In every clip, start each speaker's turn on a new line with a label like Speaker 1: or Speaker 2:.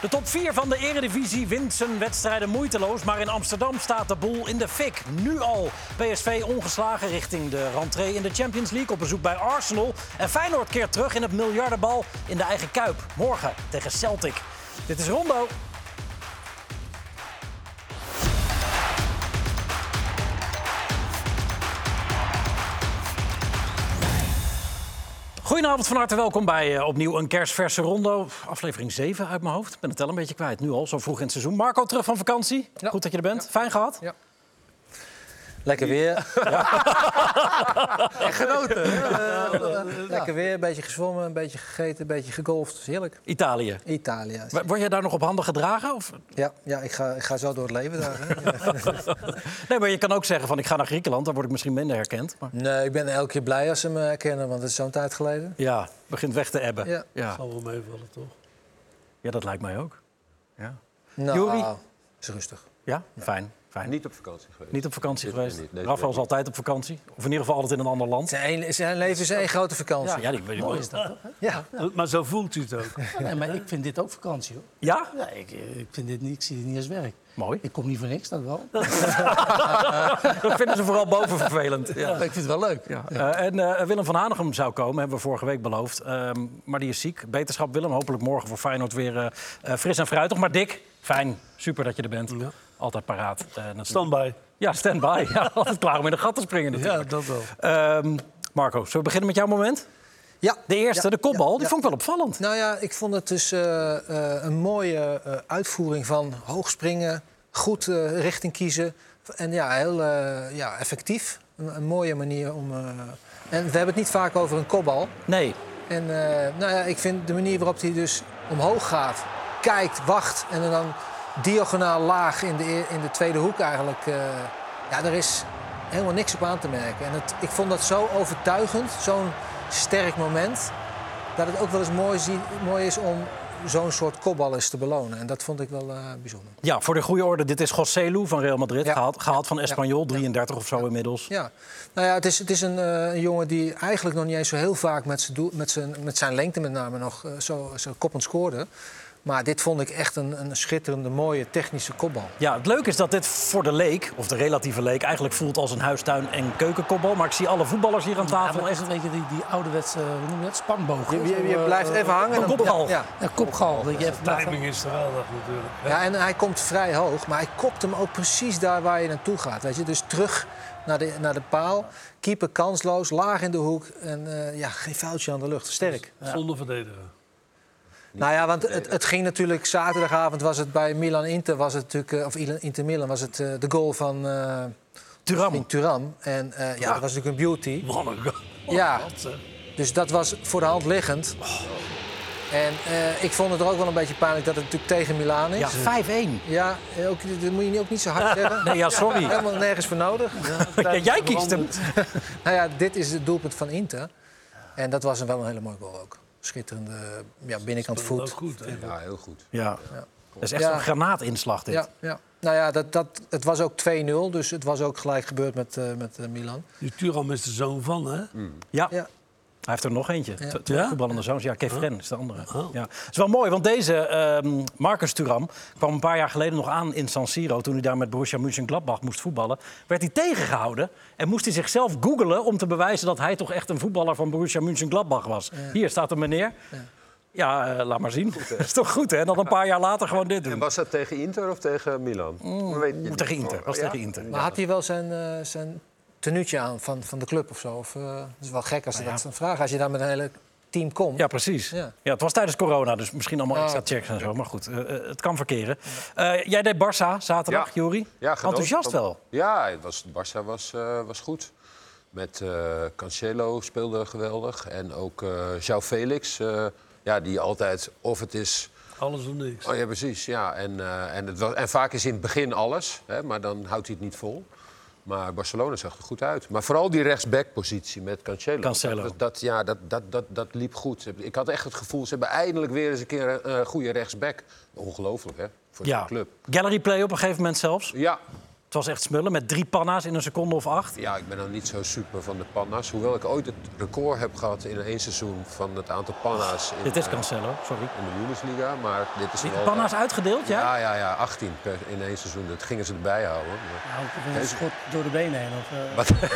Speaker 1: De top 4 van de Eredivisie wint zijn wedstrijden moeiteloos, maar in Amsterdam staat de boel in de fik. Nu al. PSV ongeslagen richting de rentree in de Champions League op bezoek bij Arsenal. En Feyenoord keert terug in het miljardenbal in de eigen Kuip. Morgen tegen Celtic. Dit is Rondo. Goedenavond, van harte welkom bij eh, opnieuw een kerstverse rondo. Aflevering 7 uit mijn hoofd. Ik ben het tel een beetje kwijt, nu al, zo vroeg in het seizoen. Marco, terug van vakantie.
Speaker 2: Ja.
Speaker 1: Goed dat je er bent. Fijn gehad?
Speaker 2: Ja.
Speaker 3: Lekker weer.
Speaker 2: Genoten.
Speaker 3: Lekker weer. Een beetje gezwommen, een beetje gegeten, een beetje gegolfd. Dat is heerlijk.
Speaker 1: Italië.
Speaker 3: Italië.
Speaker 1: W- Word jij daar nog op handen gedragen? Of...
Speaker 3: Ja, ja ik, ga, ik ga zo door het leven daar. Hè. Ja.
Speaker 1: Nee, maar je kan ook zeggen van ik ga naar Griekenland, dan word ik misschien minder herkend. Maar...
Speaker 3: Nee, ik ben elke keer blij als ze me herkennen, want het is zo'n tijd geleden.
Speaker 1: Ja, begint weg te ebben.
Speaker 3: Ja.
Speaker 1: Ja.
Speaker 4: Zal wel meevallen, toch?
Speaker 1: Ja, dat lijkt mij ook. Ja,
Speaker 3: Nou,
Speaker 1: Joeri?
Speaker 3: is rustig.
Speaker 1: ja? fijn. fijn. Niet,
Speaker 4: Niet op vakantie geweest.
Speaker 1: op vakantie
Speaker 4: Dit
Speaker 1: geweest.
Speaker 4: keer niet, deze
Speaker 1: Rafael is
Speaker 4: week
Speaker 1: altijd op vakantie. Of in ieder geval altijd in een ander land.
Speaker 3: Zijn, een- zijn leven is één grote vakantie.
Speaker 1: Ja, die weet ik wel.
Speaker 3: Ja.
Speaker 4: Eh, Maar zo voelt u het ook.
Speaker 5: Ja, nee, maar ik vind dit ook vakantie hoor.
Speaker 1: Ja?
Speaker 5: Ja, ik, eh, ik vind dit niet, ik zie dit niet als werk.
Speaker 1: Mooi.
Speaker 5: Ik kom niet voor niks, dat wel.
Speaker 1: Dat vinden ze vooral boven vervelend. Ja.
Speaker 3: Maar Ik vind het wel leuk.
Speaker 1: Ja. Eh, en eh, Willem van Hanegem zou komen, hebben we vorige week beloofd. Ehm, maar die is ziek. Beterschap Willem, hopelijk morgen voor Feyenoord weer eh, eh, fris en fruitig. Maar Dick, fijn, super dat je er bent. Altijd paraat. eh, natuurlijk.
Speaker 4: Standby.
Speaker 1: Ja, stand-by. Ja, altijd klaar om in de gat te springen
Speaker 4: Ja,
Speaker 1: natuurlijk.
Speaker 4: dat wel.
Speaker 1: Ehm, Marco, zullen we beginnen met jouw moment?
Speaker 3: Ja.
Speaker 1: De eerste,
Speaker 3: Ja,
Speaker 1: de kopbal,
Speaker 3: ja,
Speaker 1: die
Speaker 3: ja.
Speaker 1: vond ik wel opvallend.
Speaker 3: Nou ja, ik vond het dus eh, eh, een mooie eh, uitvoering van hoogspringen, goed eh, richting kiezen. En ja, heel eh, ja, effectief. Een, een mooie manier om. eh, en we hebben het niet vaak over een kopbal.
Speaker 1: Nee,
Speaker 3: En eh, nou ja, ik vind de manier waarop hij dus omhoog gaat, kijkt, wacht en dan diagonaal laag in de, eer- in de tweede hoek eigenlijk. eh, ja, daar is helemaal niks op aan te merken. En het, ik vond dat zo overtuigend, zo'n sterk moment, dat het ook wel eens mooi, zie- mooi is om zo'n soort kopbal eens te belonen. En dat vond ik wel eh, bijzonder.
Speaker 1: ja, voor de goede orde, dit is Joselu van Real Madrid,
Speaker 3: Ja.
Speaker 1: gehaald, gehaald van
Speaker 3: Ja.
Speaker 1: Espanyol, 33 of zo inmiddels.
Speaker 3: Ja, nou ja, het is, het is een, eh, een jongen die eigenlijk nog niet eens zo heel vaak met zijn, doel- met zijn, met zijn lengte met name nog eh, zo, zo koppend scoorde. Maar dit vond ik echt een, een schitterende, mooie technische kopbal.
Speaker 1: Ja, het leuke is dat dit voor de leek, of de relatieve leek, eigenlijk voelt als een huistuin- en keukenkopbal. Maar ik zie alle voetballers hier aan
Speaker 5: Ja,
Speaker 1: tafel.
Speaker 5: maar echt een beetje die, die ouderwetse, eh, hoe noem je dat, spanbogen.
Speaker 3: Je, je,
Speaker 5: Zo,
Speaker 3: je
Speaker 5: eh,
Speaker 3: blijft even hangen.
Speaker 1: een
Speaker 3: dan-
Speaker 1: kopbal.
Speaker 3: Ja,
Speaker 5: Ja, kopgal. Dat je even
Speaker 4: Timing is geweldig natuurlijk.
Speaker 3: ja. ja, en hij komt vrij hoog, maar hij kopt hem ook precies daar waar je naartoe gaat. Weet je? Dus terug naar de, naar de paal, keeper kansloos, laag in de hoek. En eh, ja, geen foutje aan de lucht, sterk.
Speaker 4: Zonder verdedigen.
Speaker 3: Nou ja, want het, het ging natuurlijk zaterdagavond was het bij Milan Inter was het natuurlijk eh, of Ilan- Inter Milan was het eh, de goal van eh
Speaker 1: Turam.
Speaker 3: van Thuram en eh, ja, dat was natuurlijk een beauty.
Speaker 4: Wat een goal.
Speaker 3: Ja.
Speaker 4: Wat, zeg.
Speaker 3: Dus dat was voor de hand liggend. En eh, ik vond het er ook wel een beetje pijnlijk dat het natuurlijk tegen Milan is.
Speaker 1: Ja, 5-1.
Speaker 3: Ja, eh, ook, dat moet je ook niet zo hard zeggen.
Speaker 1: Nee, ja, sorry.
Speaker 3: Helemaal nergens voor nodig.
Speaker 1: Ja, jij kiest hem.
Speaker 3: Nou ja, dit is het doelpunt van Inter. En dat was een- wel een hele mooie goal ook. Schitterende eh, ja, binnenkant
Speaker 4: Ook
Speaker 3: voet.
Speaker 4: Nou, goed. hè.
Speaker 6: Ja, heel goed.
Speaker 1: Ja, dat is echt
Speaker 3: Ja.
Speaker 1: een granaatinslag dit.
Speaker 3: Ja, ja. Nou ja, dat, dat, het was ook 2-0, dus het was ook gelijk gebeurd met, eh, met eh, Milan.
Speaker 4: Die Turam is de zoon van, hè?
Speaker 1: Ja.
Speaker 3: Ja.
Speaker 1: Hij heeft er nog eentje. T- Twee
Speaker 4: Ja?
Speaker 1: voetballende zoons. Ja, Kefren is de andere. Ja. Het is wel mooi, want deze ehm, Marcus Thuram kwam een paar jaar geleden nog aan in San Siro... toen hij daar met Borussia Mönchengladbach moest voetballen. Werd hij tegengehouden en moest hij zichzelf googelen... om te bewijzen dat hij toch echt een voetballer van Borussia Mönchengladbach was. Hier staat een meneer. Ja, eh, laat maar zien. Dat is toch goed, hè? En dan een paar jaar later gewoon dit
Speaker 6: En
Speaker 1: doen.
Speaker 6: was dat tegen Inter of tegen Milan? Dat weet je niet.
Speaker 1: Mm,
Speaker 6: Oh,
Speaker 1: Tegen Inter. was
Speaker 6: Ja?
Speaker 1: tegen Inter.
Speaker 3: Maar had hij wel zijn, eh zijn tenuutje aan van, van de club of zo? Of, eh, dat is wel gek als ze dat dan vragen. Als je daar met een hele team komt.
Speaker 1: Nou Ja, precies. Ja.
Speaker 3: Ja.
Speaker 1: het was tijdens corona, dus misschien allemaal
Speaker 3: Ah,
Speaker 1: extra
Speaker 3: oké.
Speaker 1: checks en zo. Maar goed, eh, eh, het kan verkeren. Eh, jij deed Barça zaterdag,
Speaker 6: Ja.
Speaker 1: Jori.
Speaker 6: Ja, genoten.
Speaker 1: Enthousiast wel.
Speaker 6: Ja, het was, Barça was, eh, was goed. Met eh, Cancelo speelde geweldig. En ook eh João Felix. eh, ja, die altijd of het is...
Speaker 4: Alles of niks.
Speaker 6: Oh ja, precies. Ja. En, eh, en, het was, en vaak is in het begin alles. Hè, maar dan houdt hij het niet vol. Maar Barcelona zag er goed uit. Maar vooral die rechtsbackpositie met Cancelo.
Speaker 1: Cancelo.
Speaker 6: Dat, was- dat, ja, dat, dat, dat, dat liep goed. Ik had echt het gevoel, ze hebben eindelijk weer eens een keer een eh, goede rechtsback. Ongelooflijk, hè? Voor de
Speaker 1: Ja.
Speaker 6: club.
Speaker 1: Gallery play op een gegeven moment zelfs.
Speaker 6: Ja,
Speaker 1: Het was echt smullen met drie panna's in een seconde of acht.
Speaker 6: Ja, ik ben dan niet zo super van de panna's. Hoewel ik ooit het record heb gehad in één seizoen van het aantal panna's in,
Speaker 1: Dit is
Speaker 6: eh,
Speaker 1: Cancelo, sorry.
Speaker 6: in de Bundesliga. Maar dit is
Speaker 1: Die
Speaker 6: wel...
Speaker 1: panna's uitgedeeld, ja?
Speaker 6: Ja, ja, ja. 18 per, in één seizoen. Dat gingen ze erbij houden. Maar-
Speaker 5: Nou, of een schot door de benen heen. Of, eh,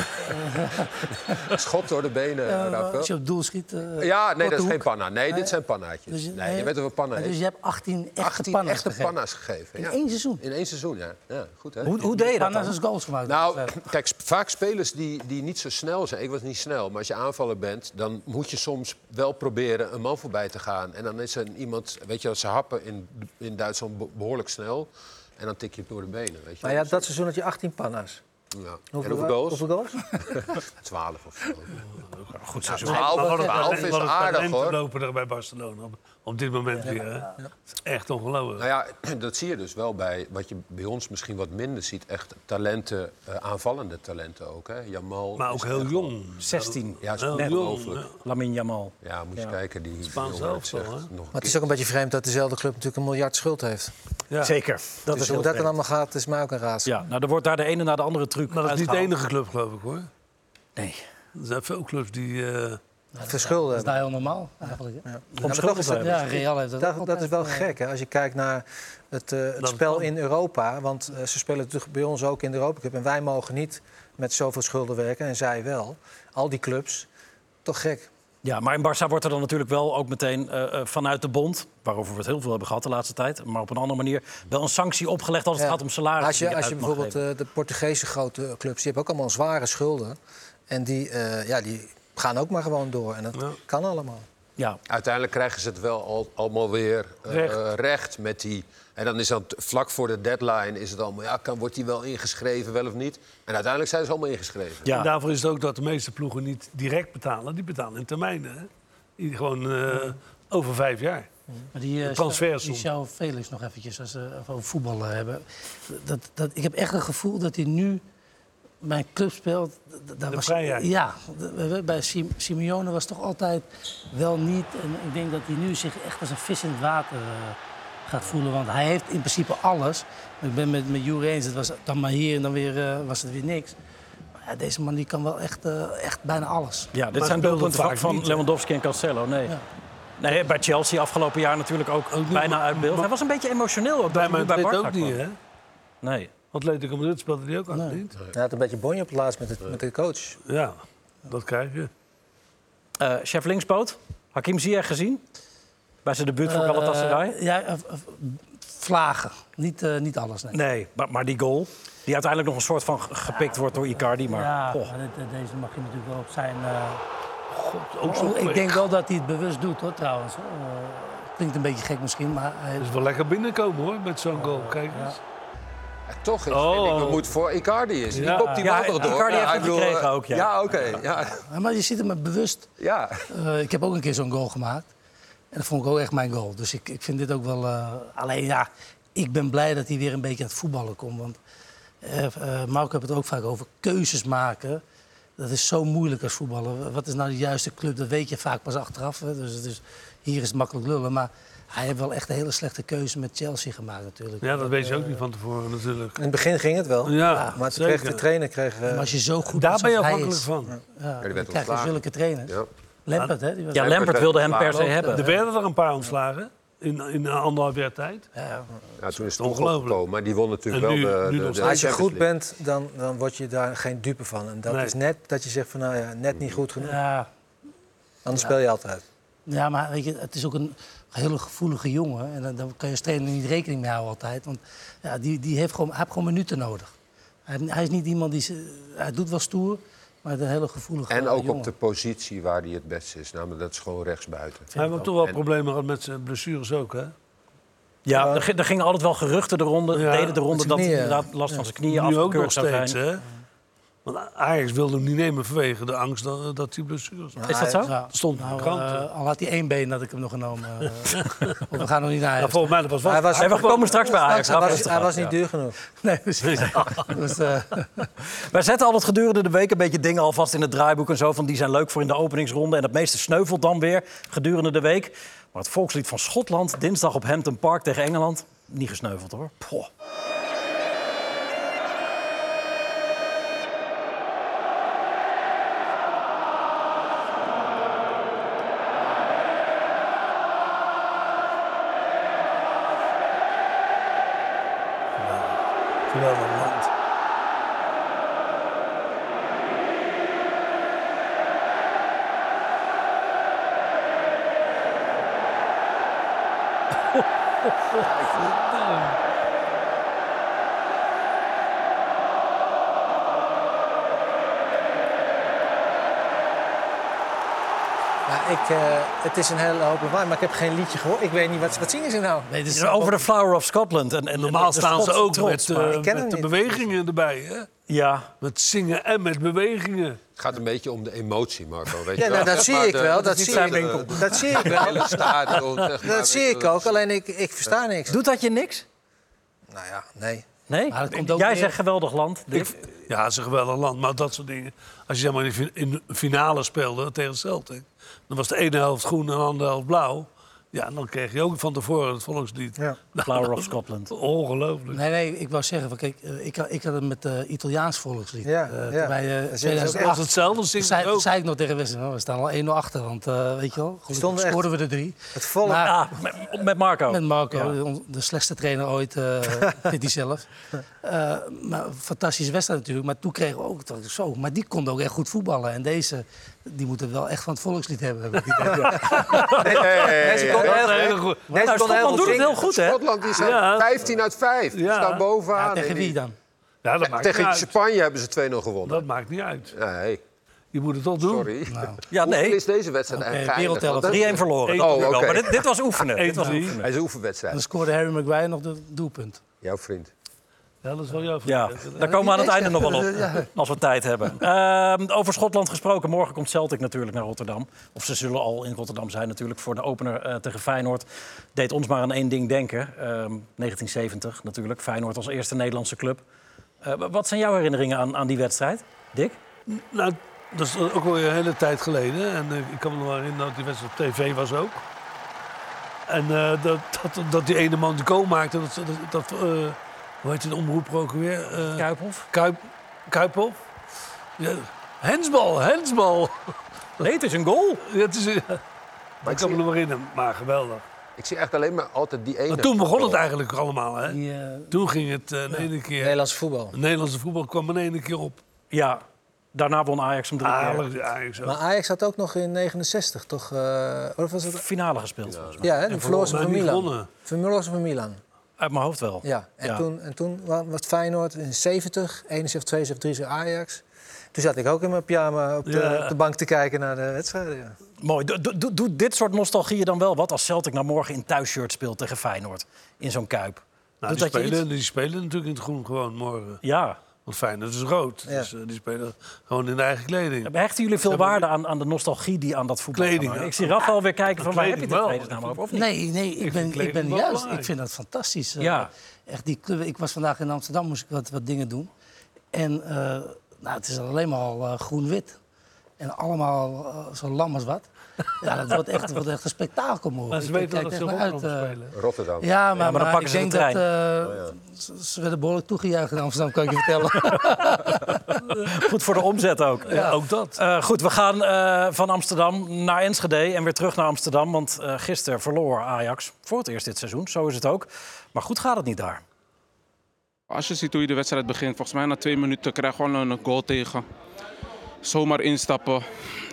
Speaker 6: Schot door de benen,
Speaker 5: eh,
Speaker 6: Rafael.
Speaker 5: als je op doel schiet. eh,
Speaker 6: Ja, nee,
Speaker 5: korte
Speaker 6: dat is
Speaker 5: hoek.
Speaker 6: geen panna. Nee, dit zijn pannaatjes.
Speaker 5: Dus je-
Speaker 6: nee, je weet wel wat panna
Speaker 5: Dus
Speaker 6: is.
Speaker 5: je hebt 18 echte
Speaker 6: 18
Speaker 5: panna's
Speaker 6: echte
Speaker 5: gegeven.
Speaker 6: panna's gegeven.
Speaker 5: In
Speaker 6: ja.
Speaker 5: één seizoen.
Speaker 6: In één seizoen, ja. ja goed, hè?
Speaker 1: Hoe, hoe deed je dat
Speaker 5: Panna's
Speaker 1: dan?
Speaker 5: als goals gemaakt.
Speaker 6: Nou, kijk, sp- vaak spelers die, die niet zo snel zijn. Ik was niet snel, maar als je aanvaller bent, dan moet je soms wel proberen een man voorbij te gaan. En dan is er iemand, weet je, wel, ze happen in, in Duitsland be- behoorlijk snel. En dan tik je het door de benen, weet je.
Speaker 3: Maar ja, dat seizoen had je 18 panna's.
Speaker 6: Ja. en
Speaker 3: Hoeveel
Speaker 6: hoeveel goals?
Speaker 3: Hoeveel goals?
Speaker 6: 12 of zo.
Speaker 1: Goed
Speaker 6: Nou,
Speaker 1: seizoen.
Speaker 6: 12, 12 is aardig,
Speaker 4: Te
Speaker 6: hoor.
Speaker 4: lopen daar bij Barcelona op, op dit moment weer. Hè? Dat is echt ongelooflijk.
Speaker 6: Nou ja, dat zie je dus wel bij wat je bij ons misschien wat minder ziet. Echt talenten, eh, aanvallende talenten ook. Hè. Jamal.
Speaker 4: Maar
Speaker 6: is
Speaker 4: ook heel
Speaker 6: echt-
Speaker 4: jong.
Speaker 1: 16.
Speaker 6: Ja, is
Speaker 4: Heel
Speaker 6: net
Speaker 4: jong,
Speaker 6: ongelooflijk.
Speaker 4: ja.
Speaker 1: Lamin Jamal.
Speaker 6: Ja, moet je
Speaker 1: Ja.
Speaker 6: kijken. Die, die
Speaker 4: Spaans
Speaker 6: jongen, het
Speaker 4: elftal,
Speaker 6: is echt
Speaker 4: hè?
Speaker 6: nog een
Speaker 3: Maar het
Speaker 6: keer-
Speaker 3: is ook een beetje vreemd dat dezelfde club natuurlijk een miljard schuld heeft.
Speaker 4: Ja.
Speaker 1: Zeker. Dat
Speaker 3: dus
Speaker 1: is
Speaker 3: hoe
Speaker 1: heel
Speaker 3: dat dan
Speaker 1: vreemd.
Speaker 3: allemaal gaat, is mij ook een raadsel.
Speaker 1: Ja, nou, er wordt daar de ene na de andere truc
Speaker 4: Maar dat is niet de
Speaker 1: uitgehaald.
Speaker 4: enige club, geloof ik, hoor.
Speaker 1: Nee.
Speaker 4: Er zijn veel clubs die... eh,
Speaker 3: Verschulden.
Speaker 5: Dat is daar heel normaal eigenlijk.
Speaker 3: Nou,
Speaker 5: hè.
Speaker 1: Om schuld te hebben.
Speaker 5: Ja, Real heeft dat ook
Speaker 3: Dat, dat
Speaker 5: altijd,
Speaker 3: is wel
Speaker 5: eh,
Speaker 3: gek, hè? als je kijkt naar het, eh, het
Speaker 4: het
Speaker 3: spel
Speaker 4: kan.
Speaker 3: in Europa. Want eh, ze spelen natuurlijk bij ons ook in de Europa Cup. En wij mogen niet met zoveel schulden werken, en zij wel. Al die clubs. Toch gek.
Speaker 1: Ja, maar in Barça wordt er dan natuurlijk wel ook meteen eh, eh, vanuit de bond, waarover we het heel veel hebben gehad de laatste tijd, maar op een andere manier, wel een sanctie opgelegd als het
Speaker 3: Ja.
Speaker 1: gaat om salaris.
Speaker 3: Als je, als je bijvoorbeeld eh, de Portugese grote clubs, die hebben ook allemaal zware schulden. En die, eh, ja, die gaan ook maar gewoon door. En dat
Speaker 4: Ja.
Speaker 3: kan allemaal.
Speaker 1: Ja,
Speaker 6: Uiteindelijk krijgen ze het wel al, allemaal weer eh,
Speaker 1: Recht.
Speaker 6: eh, recht met die. En dan is dat vlak voor de deadline is het allemaal. Ja, kan, wordt die wel ingeschreven, wel of niet? En uiteindelijk zijn ze allemaal ingeschreven.
Speaker 1: ja.
Speaker 4: En daarvoor is het ook dat de meeste ploegen niet direct betalen. Die betalen in termijnen. Hè? Die gewoon eh,
Speaker 6: Mm.
Speaker 4: over vijf jaar.
Speaker 5: Maar die, eh,
Speaker 4: transfersom.
Speaker 5: die João Felix nog eventjes, als we over voetbal eh, hebben. Dat, dat, ik heb echt het gevoel dat hij nu mijn club speelt. d- d- Daar
Speaker 4: De
Speaker 5: was,
Speaker 4: vrijheid.
Speaker 5: Ja, d- we- we- bij Sim- Simeone was toch altijd wel niet. En ik denk dat hij nu zich echt als een vis in het water eh, gaat voelen. Want hij heeft in principe alles. Ik ben met, met Jure eens, het was dan maar hier en dan weer, eh, was het weer niks. Maar ja, deze man die kan wel echt, eh, echt bijna alles.
Speaker 1: ja dit
Speaker 4: Maar
Speaker 1: zijn
Speaker 4: speelde
Speaker 1: doelpunten van,
Speaker 4: vaak
Speaker 1: van
Speaker 4: niet, hè?
Speaker 1: Lewandowski en Cancelo. Nee. nee, bij Chelsea afgelopen jaar natuurlijk ook bijna uit beeld. Hij was een beetje emotioneel ook bij,
Speaker 4: Bij mij
Speaker 1: bij
Speaker 4: weet
Speaker 1: Barca
Speaker 4: ook niet,
Speaker 1: kwam.
Speaker 4: hè?
Speaker 1: Nee.
Speaker 4: Atletico Madrid speelde die ook aan, niet?
Speaker 3: Hij had een beetje bonje op het laatst met, het, met de coach.
Speaker 4: Ja, dat krijg je.
Speaker 1: Eh, chef linkspoot, Hakim Ziyech gezien? Bij zijn debuut voor Galatasaray?
Speaker 5: Eh, ja, eh, v- vlagen. Niet, eh, niet alles, nee.
Speaker 1: Nee, maar, maar die goal, die uiteindelijk nog een soort van ge- gepikt wordt door Icardi. Maar, oh.
Speaker 5: ja,
Speaker 1: goh.
Speaker 5: maar dit, eh, deze mag je natuurlijk wel op zijn. eh,
Speaker 4: Ook zo
Speaker 5: oh, ik
Speaker 4: plek.
Speaker 5: denk wel dat hij het bewust doet, hoor, trouwens. hoor. Eh, klinkt een beetje gek misschien, maar hij
Speaker 4: Dat is wel lekker binnenkomen, hoor, met zo'n goal. Kijk eens.
Speaker 6: En toch is,
Speaker 4: Oh.
Speaker 6: vind ik, het moet voor Icardi is.
Speaker 4: Ja.
Speaker 6: Die kopt die
Speaker 1: Ja,
Speaker 6: wel toch door.
Speaker 1: Icardi heeft
Speaker 6: ik
Speaker 1: hem
Speaker 6: bedoel,
Speaker 1: gekregen
Speaker 6: eh,
Speaker 1: ook, ja.
Speaker 6: oké. ja,
Speaker 5: Ja, Maar je ziet hem bewust.
Speaker 6: ja.
Speaker 5: Eh, ik heb ook een keer zo'n goal gemaakt. En dat vond ik ook echt mijn goal. Dus ik, ik vind dit ook wel. eh, alleen ja, ik ben blij dat hij weer een beetje aan het voetballen komt. Want eh eh, Marco heeft het ook vaak over keuzes maken. Dat is zo moeilijk als voetballer. Wat is nou de juiste club? Dat weet je vaak pas achteraf. Hè. Dus, het is- hier is het makkelijk lullen. Maar hij heeft wel echt een hele slechte keuze met Chelsea gemaakt, natuurlijk.
Speaker 4: Ja, dat weet je ook niet van tevoren, natuurlijk.
Speaker 3: In het begin ging het wel.
Speaker 4: Ja,
Speaker 3: maar toen
Speaker 4: zeker.
Speaker 3: kreeg de trainer kreeg, eh,
Speaker 5: Maar als je zo goed
Speaker 4: Daar
Speaker 5: bent
Speaker 4: ben je
Speaker 5: zoals hij
Speaker 4: afhankelijk
Speaker 5: is,
Speaker 4: van.
Speaker 5: ja,
Speaker 6: die werd
Speaker 5: dan krijg je
Speaker 6: ontslagen.
Speaker 5: zulke trainers.
Speaker 6: ja.
Speaker 5: Lampert, hè? Die was,
Speaker 1: ja, Lampert wilde hem per se hebben.
Speaker 4: Er werden er een paar ontslagen in, in anderhalf jaar tijd.
Speaker 5: ja,
Speaker 6: Ja, toen is het toch
Speaker 4: Ongelooflijk.
Speaker 6: opgekomen. Maar die won natuurlijk
Speaker 4: En nu-
Speaker 6: wel de,
Speaker 4: nu
Speaker 6: de,
Speaker 4: nog
Speaker 6: de
Speaker 4: steeds.
Speaker 3: als je
Speaker 6: Champions
Speaker 3: goed
Speaker 6: League.
Speaker 3: bent, dan, dan word je daar geen dupe van. En dat
Speaker 4: Nee.
Speaker 3: is net dat je zegt van nou ja, net niet goed genoeg.
Speaker 5: ja,
Speaker 3: Anders speel je altijd.
Speaker 5: Ja, maar weet je, het is ook een hele gevoelige jongen. En dan- daar kan je als trainer niet rekening mee houden altijd. Want ja, die, die heeft gewoon, hij heeft gewoon minuten nodig. Hij, hij is niet iemand die... ze- Hij doet wel stoer, maar het is een hele gevoelige
Speaker 6: En ook
Speaker 5: jongen.
Speaker 6: op de positie waar hij het beste is. Namelijk, dat is gewoon rechtsbuiten.
Speaker 4: Hij had toch wel problemen gehad met zijn blessures ook, hè?
Speaker 1: Ja, er, ging- er gingen altijd wel geruchten de ronde,
Speaker 4: Ja,
Speaker 1: deden de ronde
Speaker 3: zijn
Speaker 1: dat hij
Speaker 3: knieën.
Speaker 1: inderdaad last van zijn knieën
Speaker 4: nu ook nog
Speaker 1: afgekeurd zou zijn.
Speaker 4: steeds, hè? Want Ajax wilde hem niet nemen vanwege de angst dat, dat hij blessures had.
Speaker 1: Is dat zo?
Speaker 5: Ja,
Speaker 4: Stond in de
Speaker 5: nou,
Speaker 4: krant,
Speaker 5: eh, al had hij één been, had ik hem nog genomen. eh. Want we gaan nog niet naar
Speaker 4: Nou,
Speaker 5: huis.
Speaker 4: volgens mij dat was wat.
Speaker 3: Hij was,
Speaker 1: Hey, we komen straks bij Ajax.
Speaker 3: hij
Speaker 1: Laten we rustig
Speaker 3: was, hij
Speaker 1: gaan.
Speaker 3: was niet duur genoeg.
Speaker 5: Nee, precies. Dus, eh,
Speaker 1: Wij zetten altijd gedurende de week een beetje dingen alvast in het draaiboek en zo. Van die zijn leuk voor in de openingsronde. En het meeste sneuvelt dan weer gedurende de week. Maar het volkslied van Schotland, dinsdag op Hampton Park tegen Engeland. Niet gesneuveld hoor. Poh.
Speaker 4: Geweldig land.
Speaker 3: Ja, ik, eh, het is een hele hoop lawaai, maar ik heb geen liedje gehoord. Ik weet niet, wat, wat zingen ze nou?
Speaker 5: Nee, dit is
Speaker 1: Ja, Over de Flower of Scotland. En, en- en
Speaker 4: Normaal
Speaker 1: de
Speaker 4: staan ze
Speaker 1: Schotse
Speaker 4: ook
Speaker 1: trots,
Speaker 4: met,
Speaker 1: maar-
Speaker 4: eh,
Speaker 3: ik ken hem
Speaker 4: met de
Speaker 3: niet.
Speaker 4: bewegingen erbij. Hè?
Speaker 1: Ja,
Speaker 4: Met zingen en met bewegingen.
Speaker 6: Het gaat een beetje om de emotie, Marco. Weet
Speaker 3: Ja,
Speaker 6: je
Speaker 3: nou,
Speaker 6: wel?
Speaker 3: dat zie
Speaker 6: Maar
Speaker 3: ik
Speaker 6: de-
Speaker 3: wel,
Speaker 6: het
Speaker 3: dat
Speaker 6: is niet
Speaker 3: zie
Speaker 6: zo'n,
Speaker 3: ik.
Speaker 6: eh,
Speaker 3: Dat zie ik wel.
Speaker 6: hele stadion. zeg maar,
Speaker 3: Dat zie
Speaker 6: weet je
Speaker 3: ik
Speaker 6: wel.
Speaker 3: ook, alleen ik, ik versta niks.
Speaker 1: doet dat je niks?
Speaker 3: Nou ja, nee.
Speaker 1: Nee?
Speaker 5: Maar dat komt ook
Speaker 1: Jij
Speaker 5: weer-
Speaker 1: zegt geweldig land. Dick.
Speaker 4: Ja, het is een geweldig land. Maar dat soort dingen. Als je zeg maar in de fin- in de finale speelde tegen Celtic. Dan was de ene helft groen en de andere helft blauw. Ja, dan kreeg je ook van tevoren het volkslied.
Speaker 3: Ja.
Speaker 4: Nou,
Speaker 1: Flower of
Speaker 4: dat-
Speaker 1: Scotland.
Speaker 4: Ongelooflijk.
Speaker 5: Nee, nee, ik wou zeggen, van, kijk, eh, ik, had- ik had het met eh, Italiaans volkslied.
Speaker 3: Ja,
Speaker 5: Eh,
Speaker 3: ja.
Speaker 5: toen Wij, eh
Speaker 3: Dat is ook echt-
Speaker 4: Dat was
Speaker 5: 2008,
Speaker 4: hetzelfde zingen
Speaker 5: zei,
Speaker 4: ook.
Speaker 5: zei ik nog tegen Wesley, nou, we staan al 1-0 achter, want eh, weet je wel,
Speaker 3: Stonden
Speaker 5: gelukkig
Speaker 3: we echt-
Speaker 5: scoorden we de drie.
Speaker 3: Het volle...
Speaker 5: Maar-
Speaker 1: Ah, met, met Marco.
Speaker 5: Met Marco,
Speaker 1: Ja.
Speaker 5: de- on- de slechtste trainer ooit, eh, vindt hij zelf. Eh, maar een fantastische wedstrijd natuurlijk. Maar toen kregen we ook dat ik zo. Maar die konden ook echt goed voetballen. En deze, die moeten wel echt van het volkslied hebben. heb ik het idee.
Speaker 6: Hey, hey, hey,
Speaker 3: Deze kon
Speaker 6: hey.
Speaker 3: heel
Speaker 4: een
Speaker 3: goed.
Speaker 4: hele goe-
Speaker 3: Deze
Speaker 1: Nou,
Speaker 3: kon heel
Speaker 1: Schotland
Speaker 3: goed
Speaker 1: doet het
Speaker 3: zingen.
Speaker 1: heel goed, hè?
Speaker 6: Schotland die zijn
Speaker 4: Ja.
Speaker 6: 15 uit 5. Die
Speaker 4: Ja.
Speaker 6: staan bovenaan.
Speaker 5: ja, tegen
Speaker 6: in die-
Speaker 5: wie dan?
Speaker 4: Ja, dat maakt
Speaker 6: Tegen
Speaker 4: niet uit.
Speaker 6: Spanje hebben ze 2-0 gewonnen.
Speaker 4: Dat maakt niet uit.
Speaker 6: Nee,
Speaker 4: Je moet het toch doen.
Speaker 6: sorry.
Speaker 1: Ja,
Speaker 6: Nou. Hoeveel
Speaker 1: nee.
Speaker 6: is deze wedstrijd
Speaker 5: Oké,
Speaker 6: eigenlijk geëindigd?
Speaker 5: wereldhelft.
Speaker 6: Want
Speaker 1: 3-1
Speaker 6: dat-
Speaker 1: verloren.
Speaker 6: Oh, oké.
Speaker 1: Maar dit, dit was oefenen. Dit was
Speaker 4: 1-3.
Speaker 1: oefenen.
Speaker 6: Hij is een
Speaker 5: Dan
Speaker 6: oefenwedstrijd.
Speaker 5: scoorde Harry Maguire nog het doelpunt.
Speaker 6: Jouw vriend.
Speaker 4: Ja, dat is wel jouw
Speaker 1: Ja,
Speaker 4: verdienste.
Speaker 1: daar komen we aan het einde nog wel op, als we tijd hebben. Ehm, over Schotland gesproken, morgen komt Celtic natuurlijk naar Rotterdam. Of ze zullen al in Rotterdam zijn natuurlijk voor de opener eh, tegen Feyenoord. Deed ons maar aan één ding denken. Ehm, 1970 natuurlijk, Feyenoord als eerste Nederlandse club. Eh, wa- wat zijn jouw herinneringen aan, aan die wedstrijd, Dick?
Speaker 4: Nou, dat is ook alweer een hele tijd geleden. En eh, ik kan me nog wel herinneren dat die wedstrijd op tv was ook. En eh, dat, dat, dat die ene man de goal maakte, dat, dat, dat, eh, hoe heet die omroeper ook weer? Eh,
Speaker 1: Kuiphof?
Speaker 4: Kuip, Kuiphoff? Ja, hensbal, hensbal.
Speaker 1: Nee, het is een goal.
Speaker 4: Ja, het is, eh, ik kan me
Speaker 6: zie-
Speaker 4: nog wel herinneren, maar geweldig.
Speaker 6: Ik zie echt alleen maar altijd die ene. Oh,
Speaker 4: Maar toen begon het
Speaker 6: goal.
Speaker 4: eigenlijk allemaal, hè?
Speaker 5: Die, eh,
Speaker 4: Toen ging het eh, de ene keer...
Speaker 3: Nederlands voetbal.
Speaker 4: Het Nederlandse voetbal kwam in ene keer op.
Speaker 1: Ja, daarna won Ajax hem drie keer.
Speaker 4: Aardig, eigenlijk zo.
Speaker 3: Ah, Maar Ajax had ook nog in 69, toch? eh, of was het...
Speaker 1: Finale gespeeld volgens mij.
Speaker 3: Ja, hè? de verloren ze
Speaker 4: Maar
Speaker 3: van
Speaker 4: niet
Speaker 3: Milan.
Speaker 4: gewonnen.
Speaker 3: Verloren ze van Milan.
Speaker 1: Uit mijn hoofd wel.
Speaker 3: Ja, en,
Speaker 1: Ja.
Speaker 3: Toen, en toen wa- was Feyenoord in 70, 71, 72, 73 Ajax. Toen zat ik ook in mijn pyjama op de,
Speaker 4: Ja.
Speaker 3: op de bank te kijken naar de wedstrijden. Ja.
Speaker 1: Mooi. Do- do- do- Doet dit soort nostalgieën dan wel wat als Celtic nou morgen in thuisshirt speelt tegen Feyenoord? In zo'n kuip.
Speaker 4: Nou, die,
Speaker 1: Doet dat je
Speaker 4: spelen, die spelen natuurlijk in het groen gewoon morgen.
Speaker 1: Ja.
Speaker 4: Want Feyenoord is rood.
Speaker 3: Ja.
Speaker 4: Dus eh, die spelen gewoon in de eigen kleding.
Speaker 1: Hechten jullie veel waarde aan, aan de nostalgie die aan dat voetbal
Speaker 4: Kleding,
Speaker 1: hangt?
Speaker 4: ja.
Speaker 1: Ik zie Raf alweer kijken van waar heb je
Speaker 4: Kleding
Speaker 1: dit
Speaker 4: wel.
Speaker 1: vredesnaam over? Of niet?
Speaker 5: Nee, nee ik,
Speaker 4: vind
Speaker 5: ben, ik
Speaker 4: kleding
Speaker 5: ben
Speaker 4: wel
Speaker 5: juist.
Speaker 4: belangrijk.
Speaker 5: Ik vind dat fantastisch. eh,
Speaker 1: Ja.
Speaker 5: Echt die club. Ik was vandaag in Amsterdam, moest ik wat, wat dingen doen. En eh, nou, het is alleen maar al eh, groen-wit. En allemaal eh, zo lam als wat. Ja, dat wordt echt, wordt echt een spektakel morgen.
Speaker 4: Maar ze
Speaker 5: Ik
Speaker 4: weten
Speaker 5: kijk
Speaker 4: dat ze
Speaker 5: echt naar
Speaker 4: Rotterdam
Speaker 5: uit, eh.
Speaker 4: spelen.
Speaker 6: Rotterdam.
Speaker 5: Ja, maar,
Speaker 1: maar dan
Speaker 5: maar
Speaker 1: pakken ze
Speaker 5: ik
Speaker 1: de
Speaker 5: denk
Speaker 1: trein. Oh,
Speaker 5: dat eh, ze- ze werden behoorlijk toegejuicht in Amsterdam, kan ik je vertellen.
Speaker 1: Goed voor de omzet ook.
Speaker 4: Ja, ook dat.
Speaker 1: Eh, goed, we gaan eh, van Amsterdam naar Enschede en weer terug naar Amsterdam. Want eh gisteren verloor Ajax voor het eerst dit seizoen. Zo is het ook. Maar goed gaat het niet daar.
Speaker 2: Als je ziet hoe je de wedstrijd begint, volgens mij na twee minuten krijg je gewoon een goal tegen. Zomaar instappen.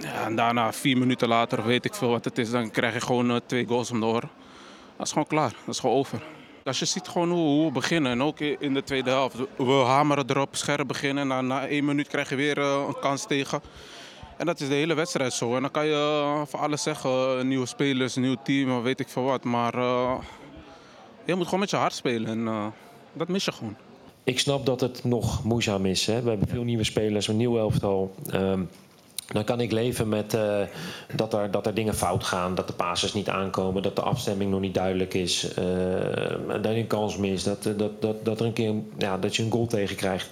Speaker 2: Ja, en daarna, vier minuten later, weet ik veel wat het is, dan krijg je gewoon eh, twee goals om de oren. Dat is gewoon klaar, dat is gewoon over. Als je ziet gewoon hoe, hoe we beginnen, en ook i- in de tweede helft. We hameren erop, scherp beginnen, na, na één minuut krijg je weer eh, een kans tegen. En dat is de hele wedstrijd zo. En dan kan je eh, van alles zeggen, eh, nieuwe spelers, nieuw team, weet ik veel wat. Maar eh, je moet gewoon met je hart spelen en eh, dat mis je gewoon.
Speaker 7: Ik snap dat het nog moeizaam is. Hè? We hebben veel nieuwe spelers, een nieuw elftal. Ehm, dan kan ik leven met eh, dat, er, dat er dingen fout gaan, dat de passes niet aankomen, dat de afstemming nog niet duidelijk is, eh, dat je een kans mist, dat, eh, dat, dat, dat, er een keer, ja, dat je een goal tegenkrijgt.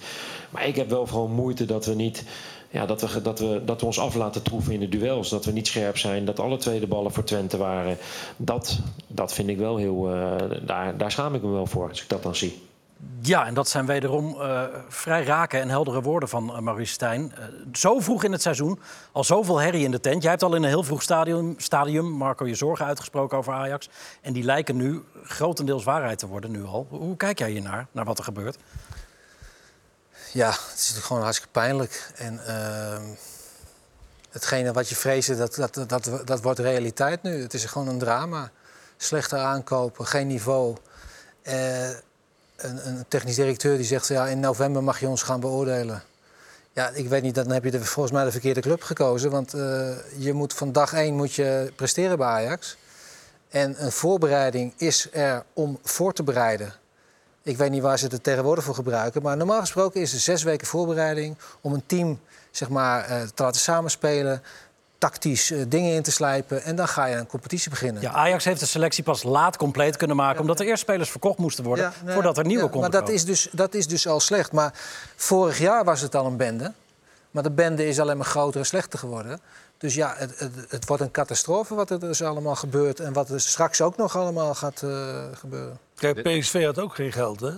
Speaker 7: Maar ik heb wel gewoon moeite dat we niet. Ja, dat, we, ge- dat, we, dat we ons af laten troeven in de duels. Dat we niet scherp zijn. Dat alle tweede ballen voor Twente waren. Dat, dat vind ik wel heel. eh, daar, daar schaam ik me wel voor als ik dat dan zie.
Speaker 1: Ja, en dat zijn wederom eh, vrij rake en heldere woorden van eh, Maurice Stijn. Eh, zo vroeg in het seizoen, al zoveel herrie in de tent. Jij hebt al in een heel vroeg stadium, stadium Marco, je zorgen uitgesproken over Ajax. En die lijken nu grotendeels waarheid te worden, nu al. Hoe kijk jij hiernaar, naar wat er gebeurt?
Speaker 3: Ja, het is natuurlijk gewoon hartstikke pijnlijk. En ehm, hetgene wat je vreesde, dat, dat, dat, dat wordt realiteit nu. Het is gewoon een drama. Slechte aankopen, geen niveau. Eh, een, een technisch directeur die zegt, ja, in november mag je ons gaan beoordelen. Ja, ik weet niet, dan heb je de, volgens mij de verkeerde club gekozen. Want eh, je moet van dag één moet je presteren bij Ajax. En een voorbereiding is er om voor te bereiden. Ik weet niet waar ze het tegenwoordig voor gebruiken. Maar normaal gesproken is er zes weken voorbereiding om een team zeg maar, eh, te laten samenspelen. Tactisch eh, dingen in te slijpen. En dan ga je een competitie beginnen.
Speaker 1: Ja, Ajax heeft de selectie pas laat compleet kunnen maken... omdat er eerst spelers verkocht moesten worden
Speaker 3: Ja, nou ja,
Speaker 1: voordat er nieuwe
Speaker 3: ja,
Speaker 1: konden
Speaker 3: Maar dat
Speaker 1: komen.
Speaker 3: is, dus, dat is dus al slecht. Maar vorig jaar was het al een bende. Maar de bende is alleen maar groter en slechter geworden. Dus ja, het, het, het wordt een catastrofe wat er dus allemaal gebeurt. En wat er straks ook nog allemaal gaat eh, gebeuren.
Speaker 4: Kijk, PSV had ook geen geld, hè?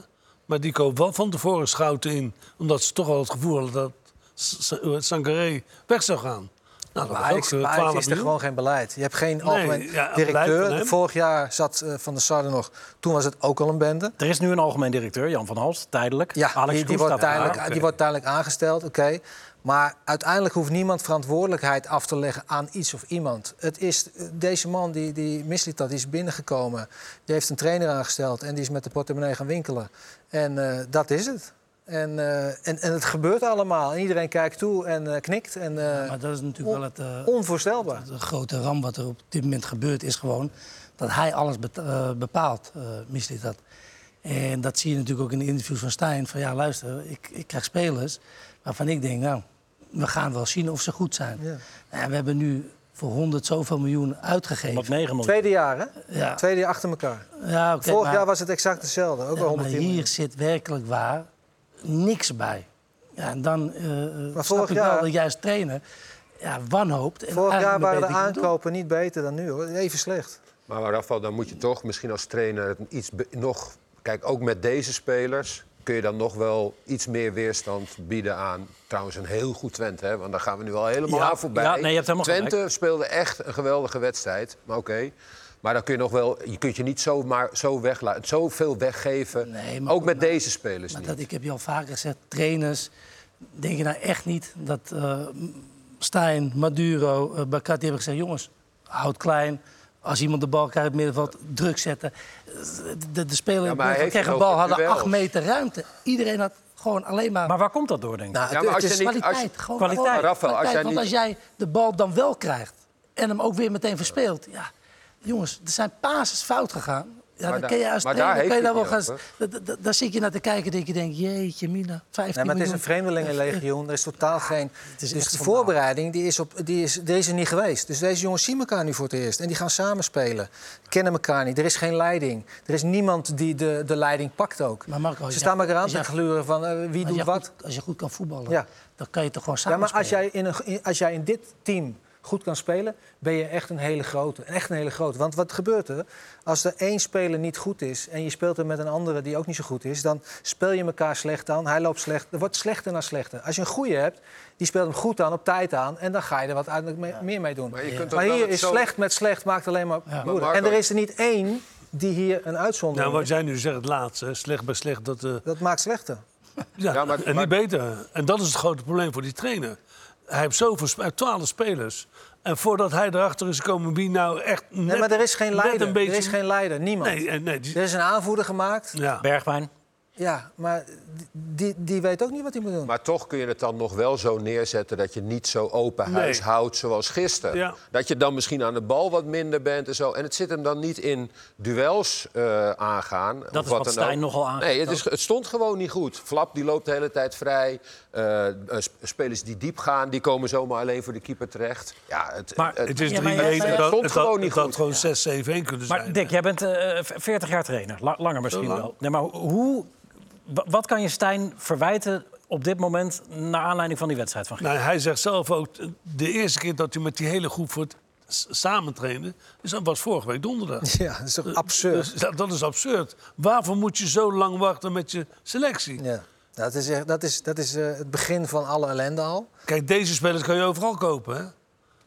Speaker 4: Maar die koopt wel van tevoren schouten in. Omdat ze toch al het gevoel hadden dat S- S- eh, Sangaré weg zou gaan. Nou, dat
Speaker 3: Maar
Speaker 4: was
Speaker 3: Ajax,
Speaker 4: ook eh,
Speaker 3: bij Ajax
Speaker 4: 12
Speaker 3: is er
Speaker 4: miljoen.
Speaker 3: gewoon geen beleid. Je hebt geen algemeen
Speaker 4: ja, een beleid van
Speaker 3: directeur.
Speaker 4: hem.
Speaker 3: Vorig jaar zat eh, Van der Sar er nog. Toen was het ook al een bende.
Speaker 1: Er is nu een algemeen directeur, Jan van Hals, tijdelijk.
Speaker 3: Ja,
Speaker 1: Alex
Speaker 3: die, die,
Speaker 1: Kroes
Speaker 3: wordt
Speaker 1: staat daar.
Speaker 3: tijdelijk,
Speaker 4: oké.
Speaker 3: die wordt tijdelijk aangesteld, oké. Maar uiteindelijk hoeft niemand verantwoordelijkheid af te leggen aan iets of iemand. Het is, deze man die, die misliet dat, die is binnengekomen. Die heeft een trainer aangesteld en die is met de portemonnee gaan winkelen. En eh, dat is het. En, eh, en, en het gebeurt allemaal. En iedereen kijkt toe en eh, knikt. En, eh,
Speaker 5: Maar dat is natuurlijk wel het, eh,
Speaker 3: onvoorstelbaar.
Speaker 5: de grote ramp wat er op dit moment gebeurt is gewoon dat hij alles bet- eh, bepaalt, eh misliet dat. En dat zie je natuurlijk ook in de interviews van Stijn. Van ja, luister, ik, ik krijg spelers waarvan ik denk, nou, we gaan wel zien of ze goed zijn.
Speaker 3: Ja.
Speaker 5: Nou ja, we hebben nu voor 100 zoveel miljoen uitgegeven.
Speaker 1: 109 miljoen.
Speaker 3: Tweede jaar, hè?
Speaker 5: Ja.
Speaker 3: Tweede jaar achter elkaar.
Speaker 5: Ja, oké,
Speaker 3: Vorig
Speaker 5: maar-
Speaker 3: jaar was het exact hetzelfde. Ook
Speaker 5: Ja, maar
Speaker 3: al 110 miljoen.
Speaker 5: hier zit werkelijk waar niks bij. Ja, en dan eh, eh
Speaker 3: Maar
Speaker 5: snap
Speaker 3: vorig
Speaker 5: ik
Speaker 3: jaar-
Speaker 5: wel dat jij als trainer ja, wanhoopt. En
Speaker 3: Vorig jaar
Speaker 5: eigenlijk
Speaker 3: waren de
Speaker 5: beter kunt doen.
Speaker 3: aankopen niet beter dan nu, hoor. Even slecht.
Speaker 6: Maar Rafael, dan moet je toch misschien als trainer het iets be- nog... Kijk, ook met deze spelers kun je dan nog wel iets meer weerstand bieden aan... Trouwens, een heel goed Twente, hè? want daar gaan we nu al helemaal
Speaker 1: Ja,
Speaker 6: aan voorbij.
Speaker 1: ja, nee, je hebt helemaal
Speaker 6: Twente speelde echt een geweldige wedstrijd, maar oké. Maar dan kun je nog wel... Je kunt je niet zomaar zo weglaten, zoveel weggeven.
Speaker 5: Nee, maar-
Speaker 6: ook met deze spelers
Speaker 5: Maar
Speaker 6: dus niet.
Speaker 5: dat, ik heb je al vaker gezegd, trainers, denk je nou echt niet dat eh, Stijn, Maduro, eh Bakati hebben gezegd... jongens, houd klein, als iemand de bal krijgt in het middenveld, druk zetten. De, de speler
Speaker 6: Ja, maar hij heeft
Speaker 5: kreeg
Speaker 6: het
Speaker 5: een bal,
Speaker 6: over
Speaker 5: hadden
Speaker 6: duels.
Speaker 5: acht meter ruimte. Iedereen had gewoon alleen maar...
Speaker 1: Maar waar komt dat door, denk je?
Speaker 3: Nou,
Speaker 6: Ja, maar als je niet- als je-
Speaker 5: kwaliteit. gewoon
Speaker 1: Kwaliteit.
Speaker 5: gewoon
Speaker 6: Maar Rafael, als
Speaker 5: kwaliteit.
Speaker 6: jij
Speaker 5: Want
Speaker 6: niet-
Speaker 5: als jij de bal dan wel krijgt en hem ook weer meteen verspeelt... Ja, jongens, er zijn pases fout gegaan. Ja,
Speaker 6: Maar
Speaker 5: dan
Speaker 6: daar-
Speaker 5: kun je als
Speaker 6: maar daar
Speaker 5: trainer kun je
Speaker 6: heeft
Speaker 5: daar wel
Speaker 6: hij
Speaker 5: gaan...
Speaker 6: het niet
Speaker 5: da- da- da- Daar zit je naar te kijken denk je, denk, jeetje mina, 15
Speaker 3: Nee, maar het is een
Speaker 5: miljoen.
Speaker 3: vreemdelingenlegioen. Er is totaal geen.
Speaker 5: Ah, is
Speaker 3: dus
Speaker 5: echt
Speaker 3: de
Speaker 5: schandaal.
Speaker 3: voorbereiding die is op, die is, er is er niet geweest. Dus deze jongens zien elkaar nu voor het eerst. En die gaan samenspelen. Kennen elkaar niet. Er is geen leiding. Er is niemand die de, de leiding pakt ook.
Speaker 5: Maar Marco, als
Speaker 3: Ze
Speaker 5: jij-
Speaker 3: staan elkaar aan
Speaker 5: als
Speaker 3: te
Speaker 5: jij-
Speaker 3: gluren van eh, wie
Speaker 5: als
Speaker 3: doet
Speaker 5: je
Speaker 3: wat.
Speaker 5: Goed, als je goed kan voetballen,
Speaker 3: Ja.
Speaker 5: dan kan je toch gewoon
Speaker 3: Ja,
Speaker 5: samen
Speaker 3: maar als jij in, een, in- als jij in dit team goed kan spelen, ben je echt een hele grote. Echt een hele grote. Want wat gebeurt er? Als er één speler niet goed is en je speelt er met een andere die ook niet zo goed is, dan speel je elkaar slecht aan. Hij loopt slecht. Er wordt slechter naar slechter. Als je een goede hebt, die speelt hem goed aan, op tijd aan, en dan ga je er wat uiteindelijk mee- meer mee doen.
Speaker 6: Maar
Speaker 3: Maar,
Speaker 6: je kunt ook wel
Speaker 3: hier
Speaker 6: het
Speaker 3: is
Speaker 6: zo-
Speaker 3: slecht met slecht maakt alleen maar moeilijk.
Speaker 6: Marco-
Speaker 3: En er is er niet één die hier een
Speaker 4: Nou,
Speaker 3: uitzondering
Speaker 4: wat
Speaker 3: is.
Speaker 4: jij nu zegt, het laatste. hè, Slecht bij slecht, dat... eh,
Speaker 3: Dat maakt slechter.
Speaker 4: Ja,
Speaker 6: Ja, maar-
Speaker 4: en
Speaker 6: maar-
Speaker 4: niet beter. En dat is het grote probleem voor die trainer. Hij heeft zoveel, sp- hij heeft 12 spelers. En voordat hij erachter is komen wie nou echt net,
Speaker 3: Nee, maar er is geen
Speaker 4: net
Speaker 3: leider.
Speaker 4: een beetje...
Speaker 3: Er is geen leider. Niemand.
Speaker 4: Nee, eh, nee. Die,
Speaker 3: Er is een aanvoerder gemaakt.
Speaker 4: ja.
Speaker 1: Bergwijn.
Speaker 3: Ja, maar die, die weet ook niet wat hij moet doen.
Speaker 6: Maar toch kun je het dan nog wel zo neerzetten dat je niet zo open
Speaker 4: Nee.
Speaker 6: huis houdt zoals gisteren.
Speaker 4: Ja.
Speaker 6: Dat je dan misschien aan de bal wat minder bent en zo. En het zit hem dan niet in duels eh, aangaan. of
Speaker 1: Dat is wat
Speaker 6: dan
Speaker 1: Stijn
Speaker 6: ook.
Speaker 1: nogal aangeeft
Speaker 6: Nee, het, is, het stond gewoon niet goed. Flap die loopt de hele tijd vrij. Eh, eh, sp- spelers die diep gaan, die komen zomaar alleen voor de keeper terecht. Eh, Ja, het,
Speaker 1: Maar
Speaker 4: Het is 3-1.
Speaker 5: Ja, maar
Speaker 4: en
Speaker 5: jij-
Speaker 4: dat-
Speaker 5: Het
Speaker 6: stond
Speaker 4: het
Speaker 6: gewoon
Speaker 4: had-
Speaker 6: niet
Speaker 4: het had
Speaker 6: goed.
Speaker 4: gewoon 6-7-1 kunnen zijn.
Speaker 1: Maar Dick, jij bent eh, v- 40 jaar trainer. La- langer misschien
Speaker 4: lang?
Speaker 1: wel. Nee, maar hoe, wa- wat kan je Stijn verwijten op dit moment... naar aanleiding van die wedstrijd van gisteren?
Speaker 4: Nou, hij zegt zelf ook, de eerste keer dat hij met die hele groep voor het s- samen trainde... is- dat was vorige week donderdag.
Speaker 3: Ja, dat is toch absurd?
Speaker 4: Dus dat, dat is absurd. Waarvoor moet je zo lang wachten met je selectie?
Speaker 3: Ja. Dat is, echt- dat is, dat is eh, het begin van alle ellende al.
Speaker 4: Kijk, deze spelers kan je overal kopen, hè?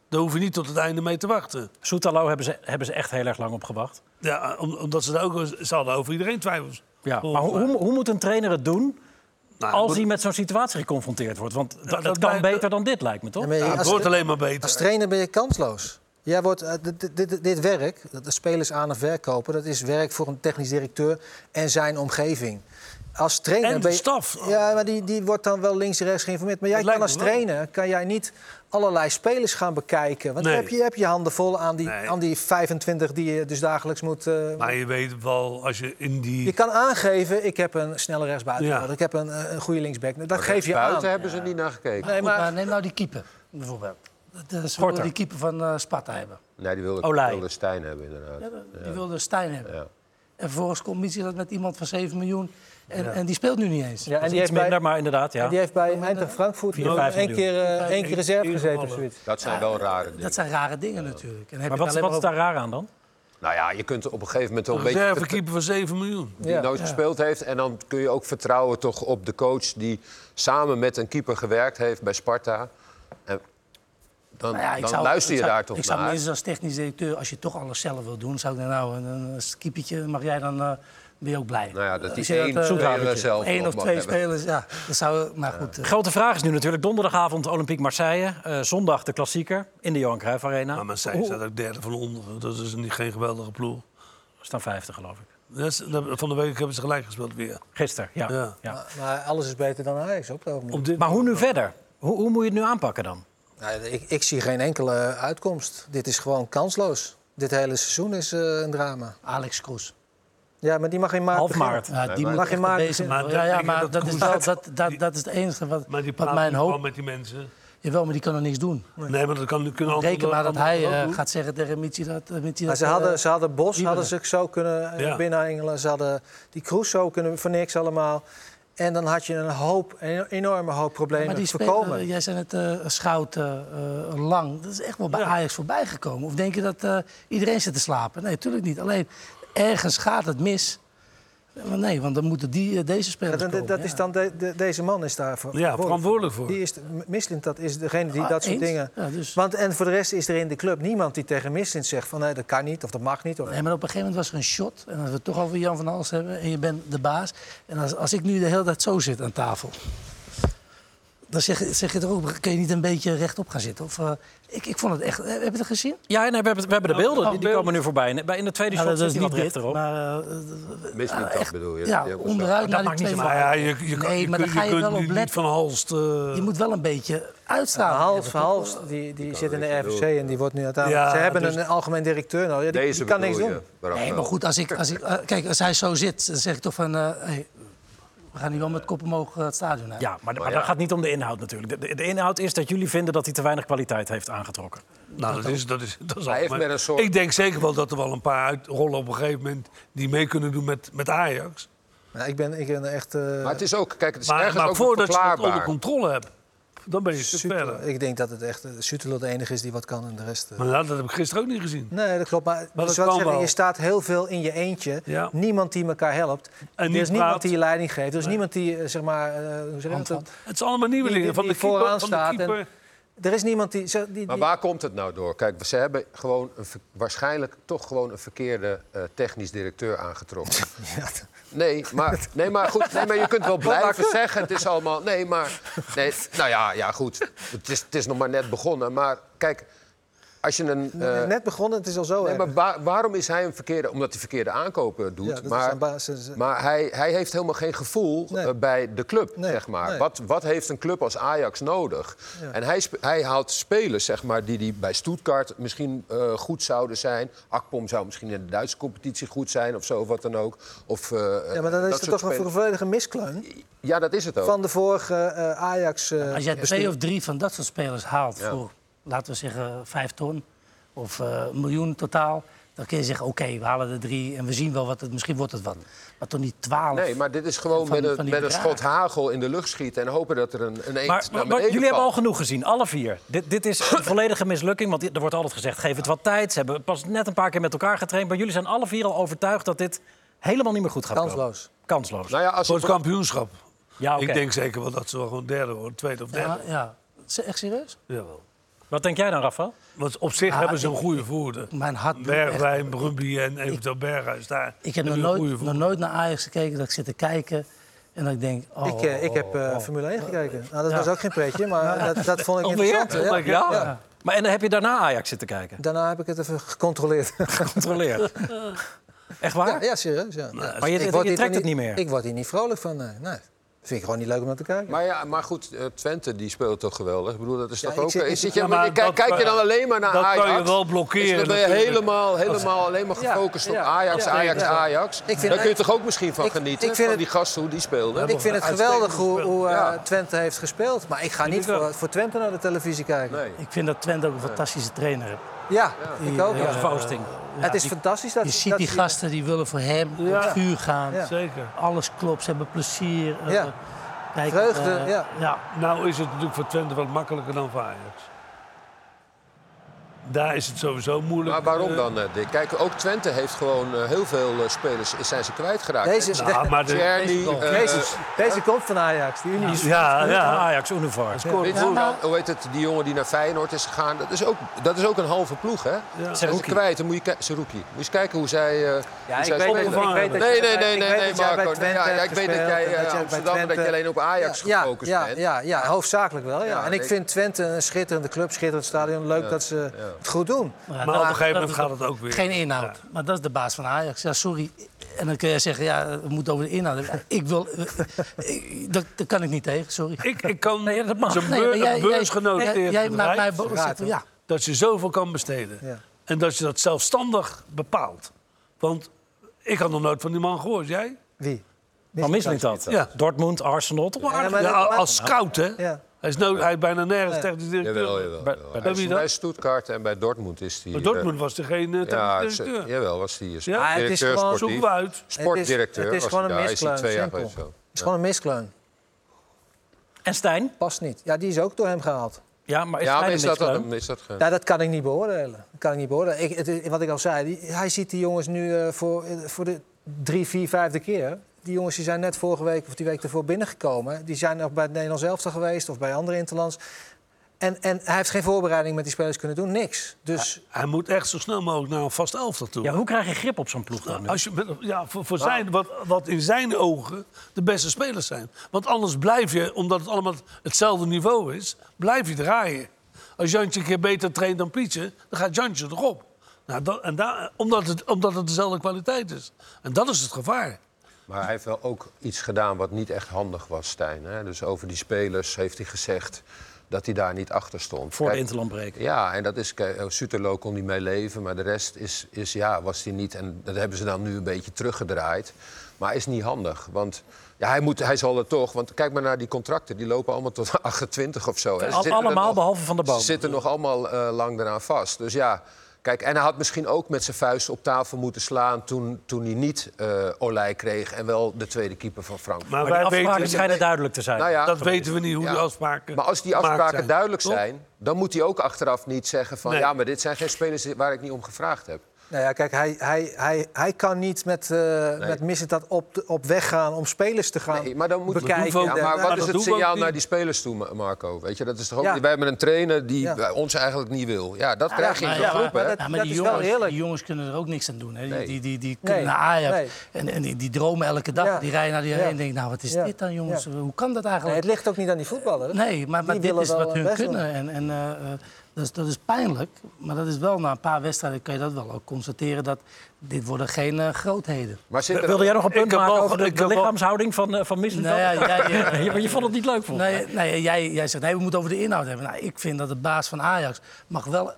Speaker 4: Daar hoef je niet tot het einde mee te wachten.
Speaker 1: Soetalo hebben ze, hebben ze echt heel erg lang op gewacht.
Speaker 4: Ja, om- omdat ze daar ook ze hadden over iedereen twijfels.
Speaker 1: Ja, maar
Speaker 4: Volgens
Speaker 1: hoe,
Speaker 4: mij.
Speaker 1: hoe, hoe moet een trainer het doen
Speaker 4: Nou,
Speaker 1: als
Speaker 4: goed,
Speaker 1: hij met zo'n situatie geconfronteerd wordt. Want da- dat,
Speaker 4: dat
Speaker 1: kan
Speaker 4: lijkt-
Speaker 1: beter dan dit, lijkt me, toch?
Speaker 3: Ja, maar je-
Speaker 4: ja, het
Speaker 3: als,
Speaker 4: wordt alleen maar beter.
Speaker 3: als trainer ben je kansloos. Jij wordt, eh, dit, dit- dit, dit werk, dat de spelers aan en verkopen, dat is werk voor een technisch directeur en zijn omgeving. Als trainer
Speaker 4: En de
Speaker 3: ben je-
Speaker 4: staf.
Speaker 3: Ja, maar die, die wordt dan wel links en rechts geïnformeerd. Maar jij
Speaker 4: Dat
Speaker 3: kan
Speaker 4: lijkt
Speaker 3: als
Speaker 4: me wel.
Speaker 3: trainer kan jij niet allerlei spelers gaan bekijken. Want
Speaker 4: Nee.
Speaker 3: dan heb je, je heb je handen vol aan die,
Speaker 4: Nee.
Speaker 3: aan die 25 die je dus dagelijks moet... eh,
Speaker 4: Maar je weet wel, als je in die...
Speaker 3: je kan aangeven, ik heb een snelle rechtsbuiten
Speaker 4: Ja.
Speaker 3: nodig. Ik heb een, eh, een goede linksback. Dat
Speaker 6: Maar
Speaker 3: geef je aan.
Speaker 6: buiten hebben ze niet naar gekeken.
Speaker 3: Nee,
Speaker 5: Goed, maar...
Speaker 3: maar,
Speaker 5: neem nou die keeper, bijvoorbeeld. Dat is
Speaker 1: Korter.
Speaker 5: die keeper van eh, Sparta hebben.
Speaker 6: Nee, die wilde,
Speaker 1: Olij.
Speaker 6: wilde Stijn hebben inderdaad.
Speaker 5: Ja, Die wilde Stijn hebben.
Speaker 6: Ja.
Speaker 5: En vervolgens komt Mitsieland met iemand van 7 miljoen. En, en die speelt nu niet eens.
Speaker 3: ja, en
Speaker 1: Iets
Speaker 3: die heeft bij-
Speaker 1: minder, maar inderdaad, ja.
Speaker 3: Die heeft bij Eintracht Frankfurt
Speaker 1: Vier, vijf
Speaker 3: één
Speaker 1: miljoen.
Speaker 3: keer, eh, één keer reserve
Speaker 4: Eén
Speaker 3: gezeten
Speaker 4: gevallen.
Speaker 3: of zoiets.
Speaker 6: Dat zijn wel rare dingen.
Speaker 5: Dat zijn rare dingen natuurlijk. En dan heb
Speaker 1: Maar
Speaker 5: je het
Speaker 1: wat,
Speaker 5: alleen
Speaker 1: wat is
Speaker 5: maar
Speaker 1: daar raar aan dan?
Speaker 6: Nou ja, je kunt op een gegeven moment wel
Speaker 4: Een
Speaker 6: een beetje...
Speaker 4: reservekeeper van 7 miljoen.
Speaker 6: die
Speaker 3: Ja.
Speaker 6: nooit gespeeld heeft. En dan kun je ook vertrouwen toch op de coach die samen met een keeper gewerkt heeft bij Sparta. En dan
Speaker 5: Nou ja, ik
Speaker 6: dan
Speaker 5: zou-
Speaker 6: luister je
Speaker 5: ik zou-
Speaker 6: daar toch
Speaker 5: Ik zou
Speaker 6: naar.
Speaker 5: minstens als technisch directeur, als je toch alles zelf wil doen, zou ik dan nou een, een skippertje, mag jij dan, eh, ben je ook blij.
Speaker 6: Nou ja, dat
Speaker 5: Eh,
Speaker 6: is
Speaker 5: zeg je
Speaker 6: één
Speaker 5: dat, eh,
Speaker 6: speler zelf
Speaker 5: één
Speaker 6: op
Speaker 5: of
Speaker 6: mag
Speaker 5: twee
Speaker 6: hebben.
Speaker 5: spelers, ja. Dat zou, maar goed, eh,
Speaker 1: Grote vraag is nu natuurlijk donderdagavond Olympique Marseille. eh, zondag de klassieker in de Johan Cruijff Arena.
Speaker 4: Ah, Maar Nou, Marseille
Speaker 1: Hoe-
Speaker 4: staat ook derde van onder. Dat is niet, geen geweldige ploeg.
Speaker 1: Er staan 50, geloof ik.
Speaker 4: Dat is- dat- Van de week hebben ze gelijk gespeeld weer.
Speaker 1: Gisteren, ja. ja.
Speaker 4: Ja.
Speaker 3: Maar- Maar alles is beter dan Ajax op het ogenblik.
Speaker 4: Op dit
Speaker 1: Maar hoe nu verder? Hoe, hoe moet je het nu aanpakken dan?
Speaker 3: Nou, ik, ik zie geen enkele uitkomst. Dit is gewoon kansloos. Dit hele seizoen is eh, een drama.
Speaker 5: Alex Kroes.
Speaker 3: Ja, maar die mag in maart
Speaker 1: Half
Speaker 3: beginnen.
Speaker 1: maart.
Speaker 5: Ja, die mag
Speaker 6: maar-
Speaker 3: Mag je
Speaker 5: je
Speaker 3: maar-
Speaker 5: bezig.
Speaker 4: Maar
Speaker 5: ja,
Speaker 4: dat-
Speaker 5: ja,
Speaker 4: ik-
Speaker 5: maar
Speaker 4: dat
Speaker 5: dat is,
Speaker 4: Kroes-
Speaker 5: wel, dat, dat, dat is het enige wat,
Speaker 4: Maar die
Speaker 5: wat
Speaker 4: praat
Speaker 5: mijn
Speaker 4: niet gewoon
Speaker 5: hoop...
Speaker 4: met die mensen.
Speaker 5: Jawel, maar die kan er niks doen.
Speaker 4: Nee, maar dat kan, kunnen andere-
Speaker 5: Reken maar Nou, dat
Speaker 4: andere
Speaker 5: hij
Speaker 4: ook
Speaker 5: eh,
Speaker 4: doen.
Speaker 5: gaat zeggen tegen Mitsi dat... eh, Mitsi
Speaker 3: Maar
Speaker 5: dat,
Speaker 3: ze,
Speaker 5: eh,
Speaker 3: hadden, ze hadden Bos
Speaker 5: die
Speaker 3: hadden ze
Speaker 5: willen.
Speaker 3: zo kunnen
Speaker 4: Ja.
Speaker 3: binnen binnenengelen. Ze hadden die Kroes zo kunnen voor niks allemaal. En dan had je een hoop, een enorme hoop
Speaker 5: maar
Speaker 3: problemen
Speaker 5: die
Speaker 3: voorkomen.
Speaker 5: speler, jij zei het, eh Schout, eh, eh, Lang, dat is echt wel bij Ajax voorbij gekomen. Of denk je dat eh, iedereen zit te slapen? Nee, natuurlijk niet. Alleen, ergens gaat het mis. Eh, Nee, want dan moeten die, eh, deze
Speaker 3: Ja,
Speaker 5: spelers
Speaker 3: dan-
Speaker 5: komen.
Speaker 3: dat
Speaker 5: ja.
Speaker 3: is dan de- de- deze man is daar voor.
Speaker 4: Ja, verantwoordelijk voor.
Speaker 3: Die is, Mislint, dat is degene die
Speaker 5: Ah,
Speaker 3: dat soort
Speaker 5: eens?
Speaker 3: dingen.
Speaker 5: Ja, dus-
Speaker 3: Want en voor de rest is er in de club niemand die tegen Mislint zegt van nee, dat kan niet of dat mag niet. Of...
Speaker 5: Nee, maar op een gegeven moment was er een shot. En als we het toch over Jan van Hals hebben. En je bent de baas. En als, als ik nu de hele tijd zo zit aan tafel. Dan zeg, zeg je toch ook, kun je niet een beetje rechtop gaan zitten? Of, eh, ik, ik vond het echt... Heb je het gezien?
Speaker 1: Ja, nee, we, hebben, het- we hebben de beelden. Die, die komen nu voorbij. In- bij- In de tweede
Speaker 5: Nou,
Speaker 1: shot
Speaker 5: dat
Speaker 1: zit
Speaker 5: is
Speaker 1: hij wat
Speaker 5: niet dit,
Speaker 1: rechterop.
Speaker 5: maar... eh,
Speaker 6: Misschien dat bedoel je.
Speaker 5: ja,
Speaker 6: Die hebben ze-
Speaker 5: onderuit naar die
Speaker 1: maakt niet
Speaker 5: twee
Speaker 1: zoveel
Speaker 5: man.
Speaker 4: Maar ja, je, je, kan-
Speaker 5: Nee,
Speaker 4: je
Speaker 5: maar
Speaker 4: kun-
Speaker 5: daar
Speaker 4: je
Speaker 5: ga je
Speaker 4: kunt
Speaker 5: wel op
Speaker 4: nu niet
Speaker 5: letten.
Speaker 4: van Halst... eh,
Speaker 5: Je moet wel een beetje uitstralen.
Speaker 3: Hals,
Speaker 5: hebben,
Speaker 3: van
Speaker 5: toch?
Speaker 3: Hals, die, die zit in de
Speaker 6: niks aan
Speaker 3: RFC en die wordt nu uiteindelijk...
Speaker 4: Ja,
Speaker 3: ze hebben
Speaker 4: dus-
Speaker 3: een algemeen directeur nodig, ja, die,
Speaker 6: Deze
Speaker 3: die kan niks
Speaker 6: bedoel je,
Speaker 3: doen.
Speaker 6: Bram
Speaker 5: Nee, maar
Speaker 6: wel.
Speaker 5: goed, als ik, als ik, eh, kijk, als hij zo zit, dan zeg ik toch van... eh, hey, we gaan nu wel met kop omhoog eh, het stadion uit.
Speaker 1: Oh, Ja, maar, maar dat gaat niet om de inhoud natuurlijk. De- De, de inhoud is dat jullie vinden dat hij te weinig kwaliteit heeft aangetrokken.
Speaker 4: Nou, dat is, dat is, dat is
Speaker 6: Hij heeft
Speaker 4: allemaal-
Speaker 6: met een soort-
Speaker 4: Ik denk zeker wel dat er wel een paar uitrollen op een gegeven moment... die mee kunnen doen met, met Ajax.
Speaker 3: Ja, Nou, ik, ben, ik ben echt... eh,
Speaker 6: Maar het is ook, kijk, het is
Speaker 4: Maar,
Speaker 6: ergens
Speaker 4: maar
Speaker 6: ook
Speaker 4: voordat je het onder
Speaker 6: verklaarbaar.
Speaker 4: controle hebt, dan ben je een stuk
Speaker 3: Sutelo.
Speaker 4: verder.
Speaker 3: ik denk dat het echt eh, Sutelo de enige is die wat kan en de rest... eh,
Speaker 4: Maar nou, dat heb ik gisteren ook niet gezien.
Speaker 3: Nee, dat klopt. Maar,
Speaker 4: dat
Speaker 3: dus wat ik
Speaker 4: kan
Speaker 3: zeg,
Speaker 4: wel.
Speaker 3: je staat heel veel in je eentje.
Speaker 4: Ja.
Speaker 3: Niemand die elkaar helpt. er is
Speaker 4: niet
Speaker 3: niemand
Speaker 4: praat.
Speaker 3: die je leiding geeft. Er is niemand die, eh, zeg maar... eh, hoe zeg je dat?
Speaker 4: Het is allemaal
Speaker 3: Die-
Speaker 4: nieuwelingen.
Speaker 3: die-
Speaker 4: Van de
Speaker 3: die
Speaker 4: keeper,
Speaker 3: vooraan
Speaker 4: van de
Speaker 3: staat en-
Speaker 4: keeper.
Speaker 3: Er is niemand die... zeg- die,
Speaker 6: Maar
Speaker 3: die-
Speaker 6: waar komt het nou door? Kijk, ze hebben gewoon een, ver- waarschijnlijk toch gewoon een verkeerde eh, technisch directeur aangetrokken. Nee, maar, nee, maar goed, nee, maar je kunt wel blijven zeggen. Het is allemaal. Nee, maar. Nee, nou ja, ja goed. Het is, het is nog maar net begonnen. Maar kijk, als je een. eh,
Speaker 3: net begonnen, het is al zo
Speaker 6: nee,
Speaker 3: erg.
Speaker 6: maar waar- waarom is hij een verkeerde? Omdat hij verkeerde aankopen doet.
Speaker 3: Ja, dat is
Speaker 6: maar
Speaker 3: aan basis- eh.
Speaker 6: maar hij, hij heeft helemaal geen gevoel
Speaker 3: Nee.
Speaker 6: eh, bij de club,
Speaker 3: Nee,
Speaker 6: zeg maar.
Speaker 3: nee.
Speaker 6: Wat, wat heeft een club als Ajax nodig? En hij, spe- hij haalt spelers, zeg maar, die, die bij Stuttgart misschien eh, goed zouden zijn. Akpom zou misschien in de Duitse competitie goed zijn of zo, of wat dan ook. Of, eh,
Speaker 3: Ja, maar dan is
Speaker 6: dat
Speaker 3: het
Speaker 6: soort
Speaker 3: toch een
Speaker 6: spelers.
Speaker 3: volledige miskleun
Speaker 6: Ja, dat is het ook.
Speaker 3: van de vorige eh, Ajax... eh,
Speaker 5: Als jij twee of drie van dat soort spelers haalt voor, laten we zeggen, vijf ton of eh, een miljoen totaal, dan kun je zeggen: oké, we halen er drie en we zien wel wat het, misschien wordt het wat. Maar toch niet twaalf.
Speaker 6: Nee, maar dit is gewoon
Speaker 5: Van-
Speaker 6: met, een,
Speaker 5: van die
Speaker 6: met een
Speaker 5: bedragen.
Speaker 6: schot hagel in de lucht schieten... en hopen dat er een, een eend
Speaker 1: Maar,
Speaker 6: naar
Speaker 1: maar- maar
Speaker 6: beneden
Speaker 1: jullie hebben al
Speaker 6: valt.
Speaker 1: genoeg gezien, alle vier. Dit, dit is een volledige mislukking, want er wordt altijd gezegd... geef het wat tijd, ze hebben pas net een paar keer met elkaar getraind... maar jullie zijn alle vier al overtuigd dat dit helemaal niet meer goed gaat komen.
Speaker 3: Kansloos.
Speaker 1: Kansloos.
Speaker 6: Nou ja, als
Speaker 4: Voor
Speaker 6: het
Speaker 4: het kampioenschap.
Speaker 1: Ja,
Speaker 5: Ah,
Speaker 1: oké.
Speaker 4: Ik denk zeker wel dat ze wel gewoon derde worden. Tweede of
Speaker 5: Ja,
Speaker 4: derde.
Speaker 5: ja. Is het Echt serieus?
Speaker 4: Jawel.
Speaker 1: Wat denk jij dan, Rafa?
Speaker 4: Want op zich
Speaker 5: Ah,
Speaker 4: hebben ze
Speaker 5: ik-
Speaker 4: een goede voerder.
Speaker 5: Mijn hart bloedt echt.
Speaker 4: Bergwijn, Ruby en eventueel Berghuis daar.
Speaker 5: Ik heb nog
Speaker 4: hebben een
Speaker 5: nooit,
Speaker 4: goede
Speaker 5: nog
Speaker 4: voerder.
Speaker 5: nooit naar Ajax gekeken dat ik zit te kijken. En dat ik denk, oh,
Speaker 3: Ik, eh, ik heb eh,
Speaker 5: oh, oh.
Speaker 3: Formule 1 gekeken. Nou, dat was ook geen pretje, maar dat, dat vond ik
Speaker 1: Alweer?
Speaker 3: interessant.
Speaker 1: Ja. Maar en dan heb je daarna Ajax zitten kijken.
Speaker 3: Daarna heb ik het even gecontroleerd.
Speaker 1: Controleerd. Echt waar?
Speaker 3: ja, ja, serieus. Ja.
Speaker 1: Maar je-
Speaker 3: Ik
Speaker 1: je
Speaker 3: word hier
Speaker 1: trekt
Speaker 3: toch
Speaker 1: het niet meer?
Speaker 3: Ik word hier niet vrolijk van. Nee. nee. Vind ik gewoon niet leuk om naar te kijken.
Speaker 6: Maar, ja, maar goed, eh, Twente die speelt toch geweldig? Ik bedoel, dat is
Speaker 3: Ja,
Speaker 6: toch
Speaker 3: ik
Speaker 6: ook...
Speaker 3: zit- ik
Speaker 6: eh,
Speaker 3: zit-
Speaker 6: zit je,
Speaker 4: Ja, maar
Speaker 6: kijk,
Speaker 4: dat-
Speaker 6: kijk je dan alleen maar naar
Speaker 4: dat kan
Speaker 6: Ajax?
Speaker 4: je wel
Speaker 6: Dus
Speaker 4: blokkeren
Speaker 6: dan ben je
Speaker 4: natuurlijk.
Speaker 6: helemaal, helemaal alleen maar
Speaker 3: Ja,
Speaker 6: gefocust
Speaker 3: ja.
Speaker 6: op Ajax,
Speaker 3: Ja,
Speaker 6: Ajax,
Speaker 3: ja.
Speaker 6: Ajax.
Speaker 3: vind-
Speaker 6: Daar kun je toch ook misschien van
Speaker 3: ik-
Speaker 6: genieten?
Speaker 3: ik vind
Speaker 6: van
Speaker 3: het-
Speaker 6: die gast, hoe die speelde.
Speaker 3: ik vind het geweldig hoe, hoe eh,
Speaker 6: Ja.
Speaker 3: Twente heeft gespeeld. Maar ik ga niet voor, voor Twente naar de televisie kijken.
Speaker 6: Nee.
Speaker 5: Ik vind dat Twente ook een fantastische trainer heeft.
Speaker 3: Ja, ik ook.
Speaker 5: eh,
Speaker 3: ja.
Speaker 1: Ja, Fausting.
Speaker 3: het is
Speaker 5: die-
Speaker 3: fantastisch dat
Speaker 5: Je ziet
Speaker 3: dat
Speaker 5: die
Speaker 3: ze-
Speaker 5: gasten die willen voor hem op het vuur gaan.
Speaker 3: Ja.
Speaker 4: Zeker.
Speaker 5: Alles klopt, ze hebben plezier. eh,
Speaker 3: Ja.
Speaker 5: kijk,
Speaker 3: Vreugde,
Speaker 5: eh,
Speaker 3: ja.
Speaker 4: Nou is het natuurlijk voor Twente wat makkelijker dan voor Ajax. Daar is het sowieso moeilijk.
Speaker 6: Maar waarom
Speaker 4: eh,
Speaker 6: dan, eh, Dick? Kijk, ook Twente heeft gewoon eh, heel veel eh, spelers eh, zijn ze kwijtgeraakt.
Speaker 3: Deze,
Speaker 4: Nou, maar de-
Speaker 6: Tjerni, eh,
Speaker 3: Jezus, deze komt van Ajax. Die Unie.
Speaker 4: ja, ja.
Speaker 1: Ajax, Univar.
Speaker 6: Weet je hoe dan- hoe heet het, die jongen die naar Feyenoord is gegaan, dat is ook, dat is ook een halve ploeg, hè? Zijn ze
Speaker 1: Saruki.
Speaker 6: kwijt, dan moet je, ki- Saruki. Moet je eens kijken hoe zij, eh
Speaker 3: Ja,
Speaker 6: hoe
Speaker 3: ik
Speaker 6: zij
Speaker 3: weet, ik
Speaker 6: spelen.
Speaker 4: Opgevangen.
Speaker 3: weet dat
Speaker 6: Nee,
Speaker 3: je-
Speaker 6: nee,
Speaker 3: ik weet
Speaker 6: nee, nee,
Speaker 3: dat
Speaker 6: nee,
Speaker 3: jij bij
Speaker 6: Marco.
Speaker 3: Twente
Speaker 6: Ja, ja,
Speaker 3: hebt
Speaker 6: ik weet dat
Speaker 3: gespeeld
Speaker 6: jij
Speaker 3: en
Speaker 6: eh,
Speaker 3: dat jij bij
Speaker 6: Amsterdam, dat
Speaker 3: Twente-
Speaker 6: je alleen op Ajax
Speaker 3: ja,
Speaker 6: gefocust
Speaker 3: ja,
Speaker 6: bent.
Speaker 3: Ja, ja, hoofdzakelijk wel. Ja.
Speaker 6: Ja,
Speaker 3: en ik
Speaker 6: ik-
Speaker 3: vind Twente een schitterende club, schitterend stadion. Leuk dat ze het goed doen.
Speaker 5: ja,
Speaker 4: Maar
Speaker 5: dat-
Speaker 4: op een gegeven
Speaker 5: dat
Speaker 4: moment
Speaker 5: is
Speaker 4: gaat het ook weer.
Speaker 5: Geen inhoud. Maar dat is de baas van Ajax. Ja, sorry. En dan kun je zeggen, ja, we moeten over de inhoud hebben. Ik wil... eh, ik- dat, dat kan ik niet tegen, sorry.
Speaker 4: Ik, ik kan
Speaker 1: dat mag.
Speaker 4: zijn
Speaker 5: maar
Speaker 4: beur,
Speaker 5: jij- jij-
Speaker 4: beursgenoteerd
Speaker 5: jij- Jij maakt
Speaker 4: bedrijf
Speaker 5: mij boos.
Speaker 3: Raad, hoor.
Speaker 5: Ja,
Speaker 4: dat je zoveel kan besteden.
Speaker 3: Ja.
Speaker 4: En dat je dat zelfstandig bepaalt. Want ik had nog nooit van die man gehoord. Jij?
Speaker 3: Wie?
Speaker 1: Maar mislukt dat?
Speaker 4: Ja.
Speaker 1: Dortmund, Arsenal, toch wel
Speaker 3: Ja,
Speaker 1: aardig.
Speaker 3: maar-
Speaker 4: Ja, als scout, hè?
Speaker 3: Ja.
Speaker 4: Hij, is nood, hij is bijna nergens technisch directeur.
Speaker 6: Jawel, jawel.
Speaker 4: Bij,
Speaker 6: jawel.
Speaker 4: bij,
Speaker 6: Hij is
Speaker 4: wie
Speaker 6: bij
Speaker 4: dan?
Speaker 6: Stuttgart en bij Dortmund is die...
Speaker 4: Bij
Speaker 6: eh,
Speaker 4: Dortmund was er geen eh,
Speaker 6: Ja,
Speaker 4: technisch
Speaker 6: ze-
Speaker 4: directeur.
Speaker 6: jawel, was die eh,
Speaker 4: Ja,
Speaker 3: het is
Speaker 6: directeur
Speaker 3: gewoon-
Speaker 6: sportief.
Speaker 4: Zoeken we uit.
Speaker 6: Sportdirecteur
Speaker 3: Het is, het is
Speaker 6: was
Speaker 3: gewoon
Speaker 6: hij
Speaker 3: een
Speaker 6: daar. Hij is hier
Speaker 3: miskleun.
Speaker 6: twee jaar
Speaker 3: simpel.
Speaker 6: geweest wel.
Speaker 3: Het is gewoon een miskleun.
Speaker 1: En Stijn?
Speaker 3: Past niet. Ja, die is ook door hem gehaald.
Speaker 1: Ja, maar is
Speaker 6: Ja, maar
Speaker 1: Stijn
Speaker 6: is
Speaker 1: een
Speaker 6: dat,
Speaker 1: miskleun?
Speaker 6: dan- is dat geen...
Speaker 3: Ja, dat kan ik niet beoordelen. Dat kan ik niet beoordelen. Ik, het is- wat ik al zei, die- hij ziet die jongens nu eh, voor, eh, voor de drie, vier, vijfde keer. Die jongens die zijn net vorige week of die week ervoor binnengekomen. Die zijn nog bij het Nederlands elftal geweest of bij andere interlands. En, en hij heeft geen voorbereiding met die spelers kunnen doen, niks. Dus
Speaker 4: Hij moet echt zo snel mogelijk naar een vast elftal toe.
Speaker 1: Ja, hoe krijg je grip op zo'n ploeg dan?
Speaker 4: Nou, Als je, met- ja, voor, voor zijn, wat, wat in zijn ogen de beste spelers zijn. Want anders blijf je, omdat het allemaal hetzelfde niveau is, blijf je draaien. Als Jantje een keer beter traint dan Pietje, dan gaat Jantje erop. Nou, dat, en daar- omdat, het, omdat het dezelfde kwaliteit is. En dat is het gevaar.
Speaker 6: Maar hij heeft wel ook iets gedaan wat niet echt handig was, Stijn. Hè? Dus over die spelers heeft hij gezegd dat hij daar niet achter stond.
Speaker 1: Voor de
Speaker 6: Kijk,
Speaker 1: interlandbreek.
Speaker 6: Ja, en dat is, kijk, eh, Suterlo kon niet mee leven, maar de rest is, is ja, was hij niet. En dat hebben ze dan nu een beetje teruggedraaid. Maar is niet handig, want ja, hij, moet, hij zal er toch... Want kijk maar naar die contracten, die lopen allemaal tot 28 of zo. hè. Ze
Speaker 1: Al-
Speaker 6: zitten er
Speaker 1: allemaal
Speaker 6: nog-
Speaker 1: behalve Van der Bomen.
Speaker 6: Ze zitten nog allemaal eh, lang eraan vast. Dus ja, kijk, en hij had misschien ook met zijn vuist op tafel moeten slaan... toen, toen hij niet eh Olij kreeg en wel de tweede keeper van Frankrijk.
Speaker 4: Maar,
Speaker 1: Maar die
Speaker 4: wij
Speaker 1: afspraken
Speaker 4: weten,
Speaker 1: schijnen duidelijk te zijn.
Speaker 6: Nou ja,
Speaker 4: dat weten we niet, hoe
Speaker 6: Ja.
Speaker 4: die afspraken
Speaker 6: Maar als die
Speaker 4: gemaakt
Speaker 6: afspraken
Speaker 4: zijn.
Speaker 6: duidelijk
Speaker 4: Toch?
Speaker 6: zijn, dan moet hij ook achteraf niet zeggen van...
Speaker 4: Nee.
Speaker 6: ja, maar dit zijn geen spelers waar ik niet om gevraagd heb.
Speaker 3: nou ja, kijk, hij, hij, hij, hij kan niet met, eh met missen dat op, de- op weg gaan om spelers te gaan
Speaker 6: Nee, maar dan moet
Speaker 3: bekijken.
Speaker 6: Ja, maar
Speaker 4: maar
Speaker 6: wat
Speaker 4: dat
Speaker 6: is het
Speaker 4: doen we ook
Speaker 6: signaal
Speaker 4: niet.
Speaker 6: naar die spelers toe, Ma- Marco? Weet je, dat is toch ook,
Speaker 3: Ja.
Speaker 6: Wij hebben een trainer die
Speaker 3: Ja.
Speaker 6: eh, ons eigenlijk niet wil. Ja, dat krijg je in
Speaker 5: maar-
Speaker 6: zo'n
Speaker 5: ja,
Speaker 6: groep,
Speaker 3: maar
Speaker 6: hè?
Speaker 3: dat-
Speaker 5: Ja, maar die,
Speaker 3: is wel
Speaker 5: jongens,
Speaker 3: eerlijk.
Speaker 5: die jongens kunnen er ook niks aan doen. Hè. Die,
Speaker 6: Nee.
Speaker 5: die, die, die kunnen
Speaker 3: Nee,
Speaker 5: naar Ajax.
Speaker 3: nee.
Speaker 5: En, en die, die dromen elke dag.
Speaker 3: Ja.
Speaker 5: Die rijden naar die
Speaker 3: Ja.
Speaker 5: heen en denken, nou wat is
Speaker 3: Ja.
Speaker 5: dit dan jongens?
Speaker 3: Ja.
Speaker 5: Hoe kan dat
Speaker 3: Nee,
Speaker 5: eigenlijk?
Speaker 3: het ligt ook niet aan die voetballer.
Speaker 5: Nee, maar, maar
Speaker 3: Die
Speaker 5: dit
Speaker 3: willen
Speaker 5: is
Speaker 3: wel
Speaker 5: wat
Speaker 3: hun
Speaker 5: hun
Speaker 3: best doen.
Speaker 5: kunnen. En, en, eh, eh, dat, is, dat is pijnlijk. Maar dat is wel na een paar wedstrijden kan je dat wel ook constateren. Dat dit worden geen eh, grootheden.
Speaker 6: Maar zit er-
Speaker 1: Wilde jij nog een
Speaker 4: Ik
Speaker 1: punt
Speaker 4: heb
Speaker 1: maken
Speaker 4: wel-
Speaker 1: over de,
Speaker 4: ik
Speaker 1: de
Speaker 4: heb wel-
Speaker 1: lichaamshouding van, eh, van Mislintat?
Speaker 5: Nou ja, jij- jij-
Speaker 1: je, je vond het niet leuk, volgens mij.
Speaker 5: Nee, nee jij, jij zegt nee, we moeten over de inhoud hebben. Nou, ik vind dat de baas van Ajax mag wel,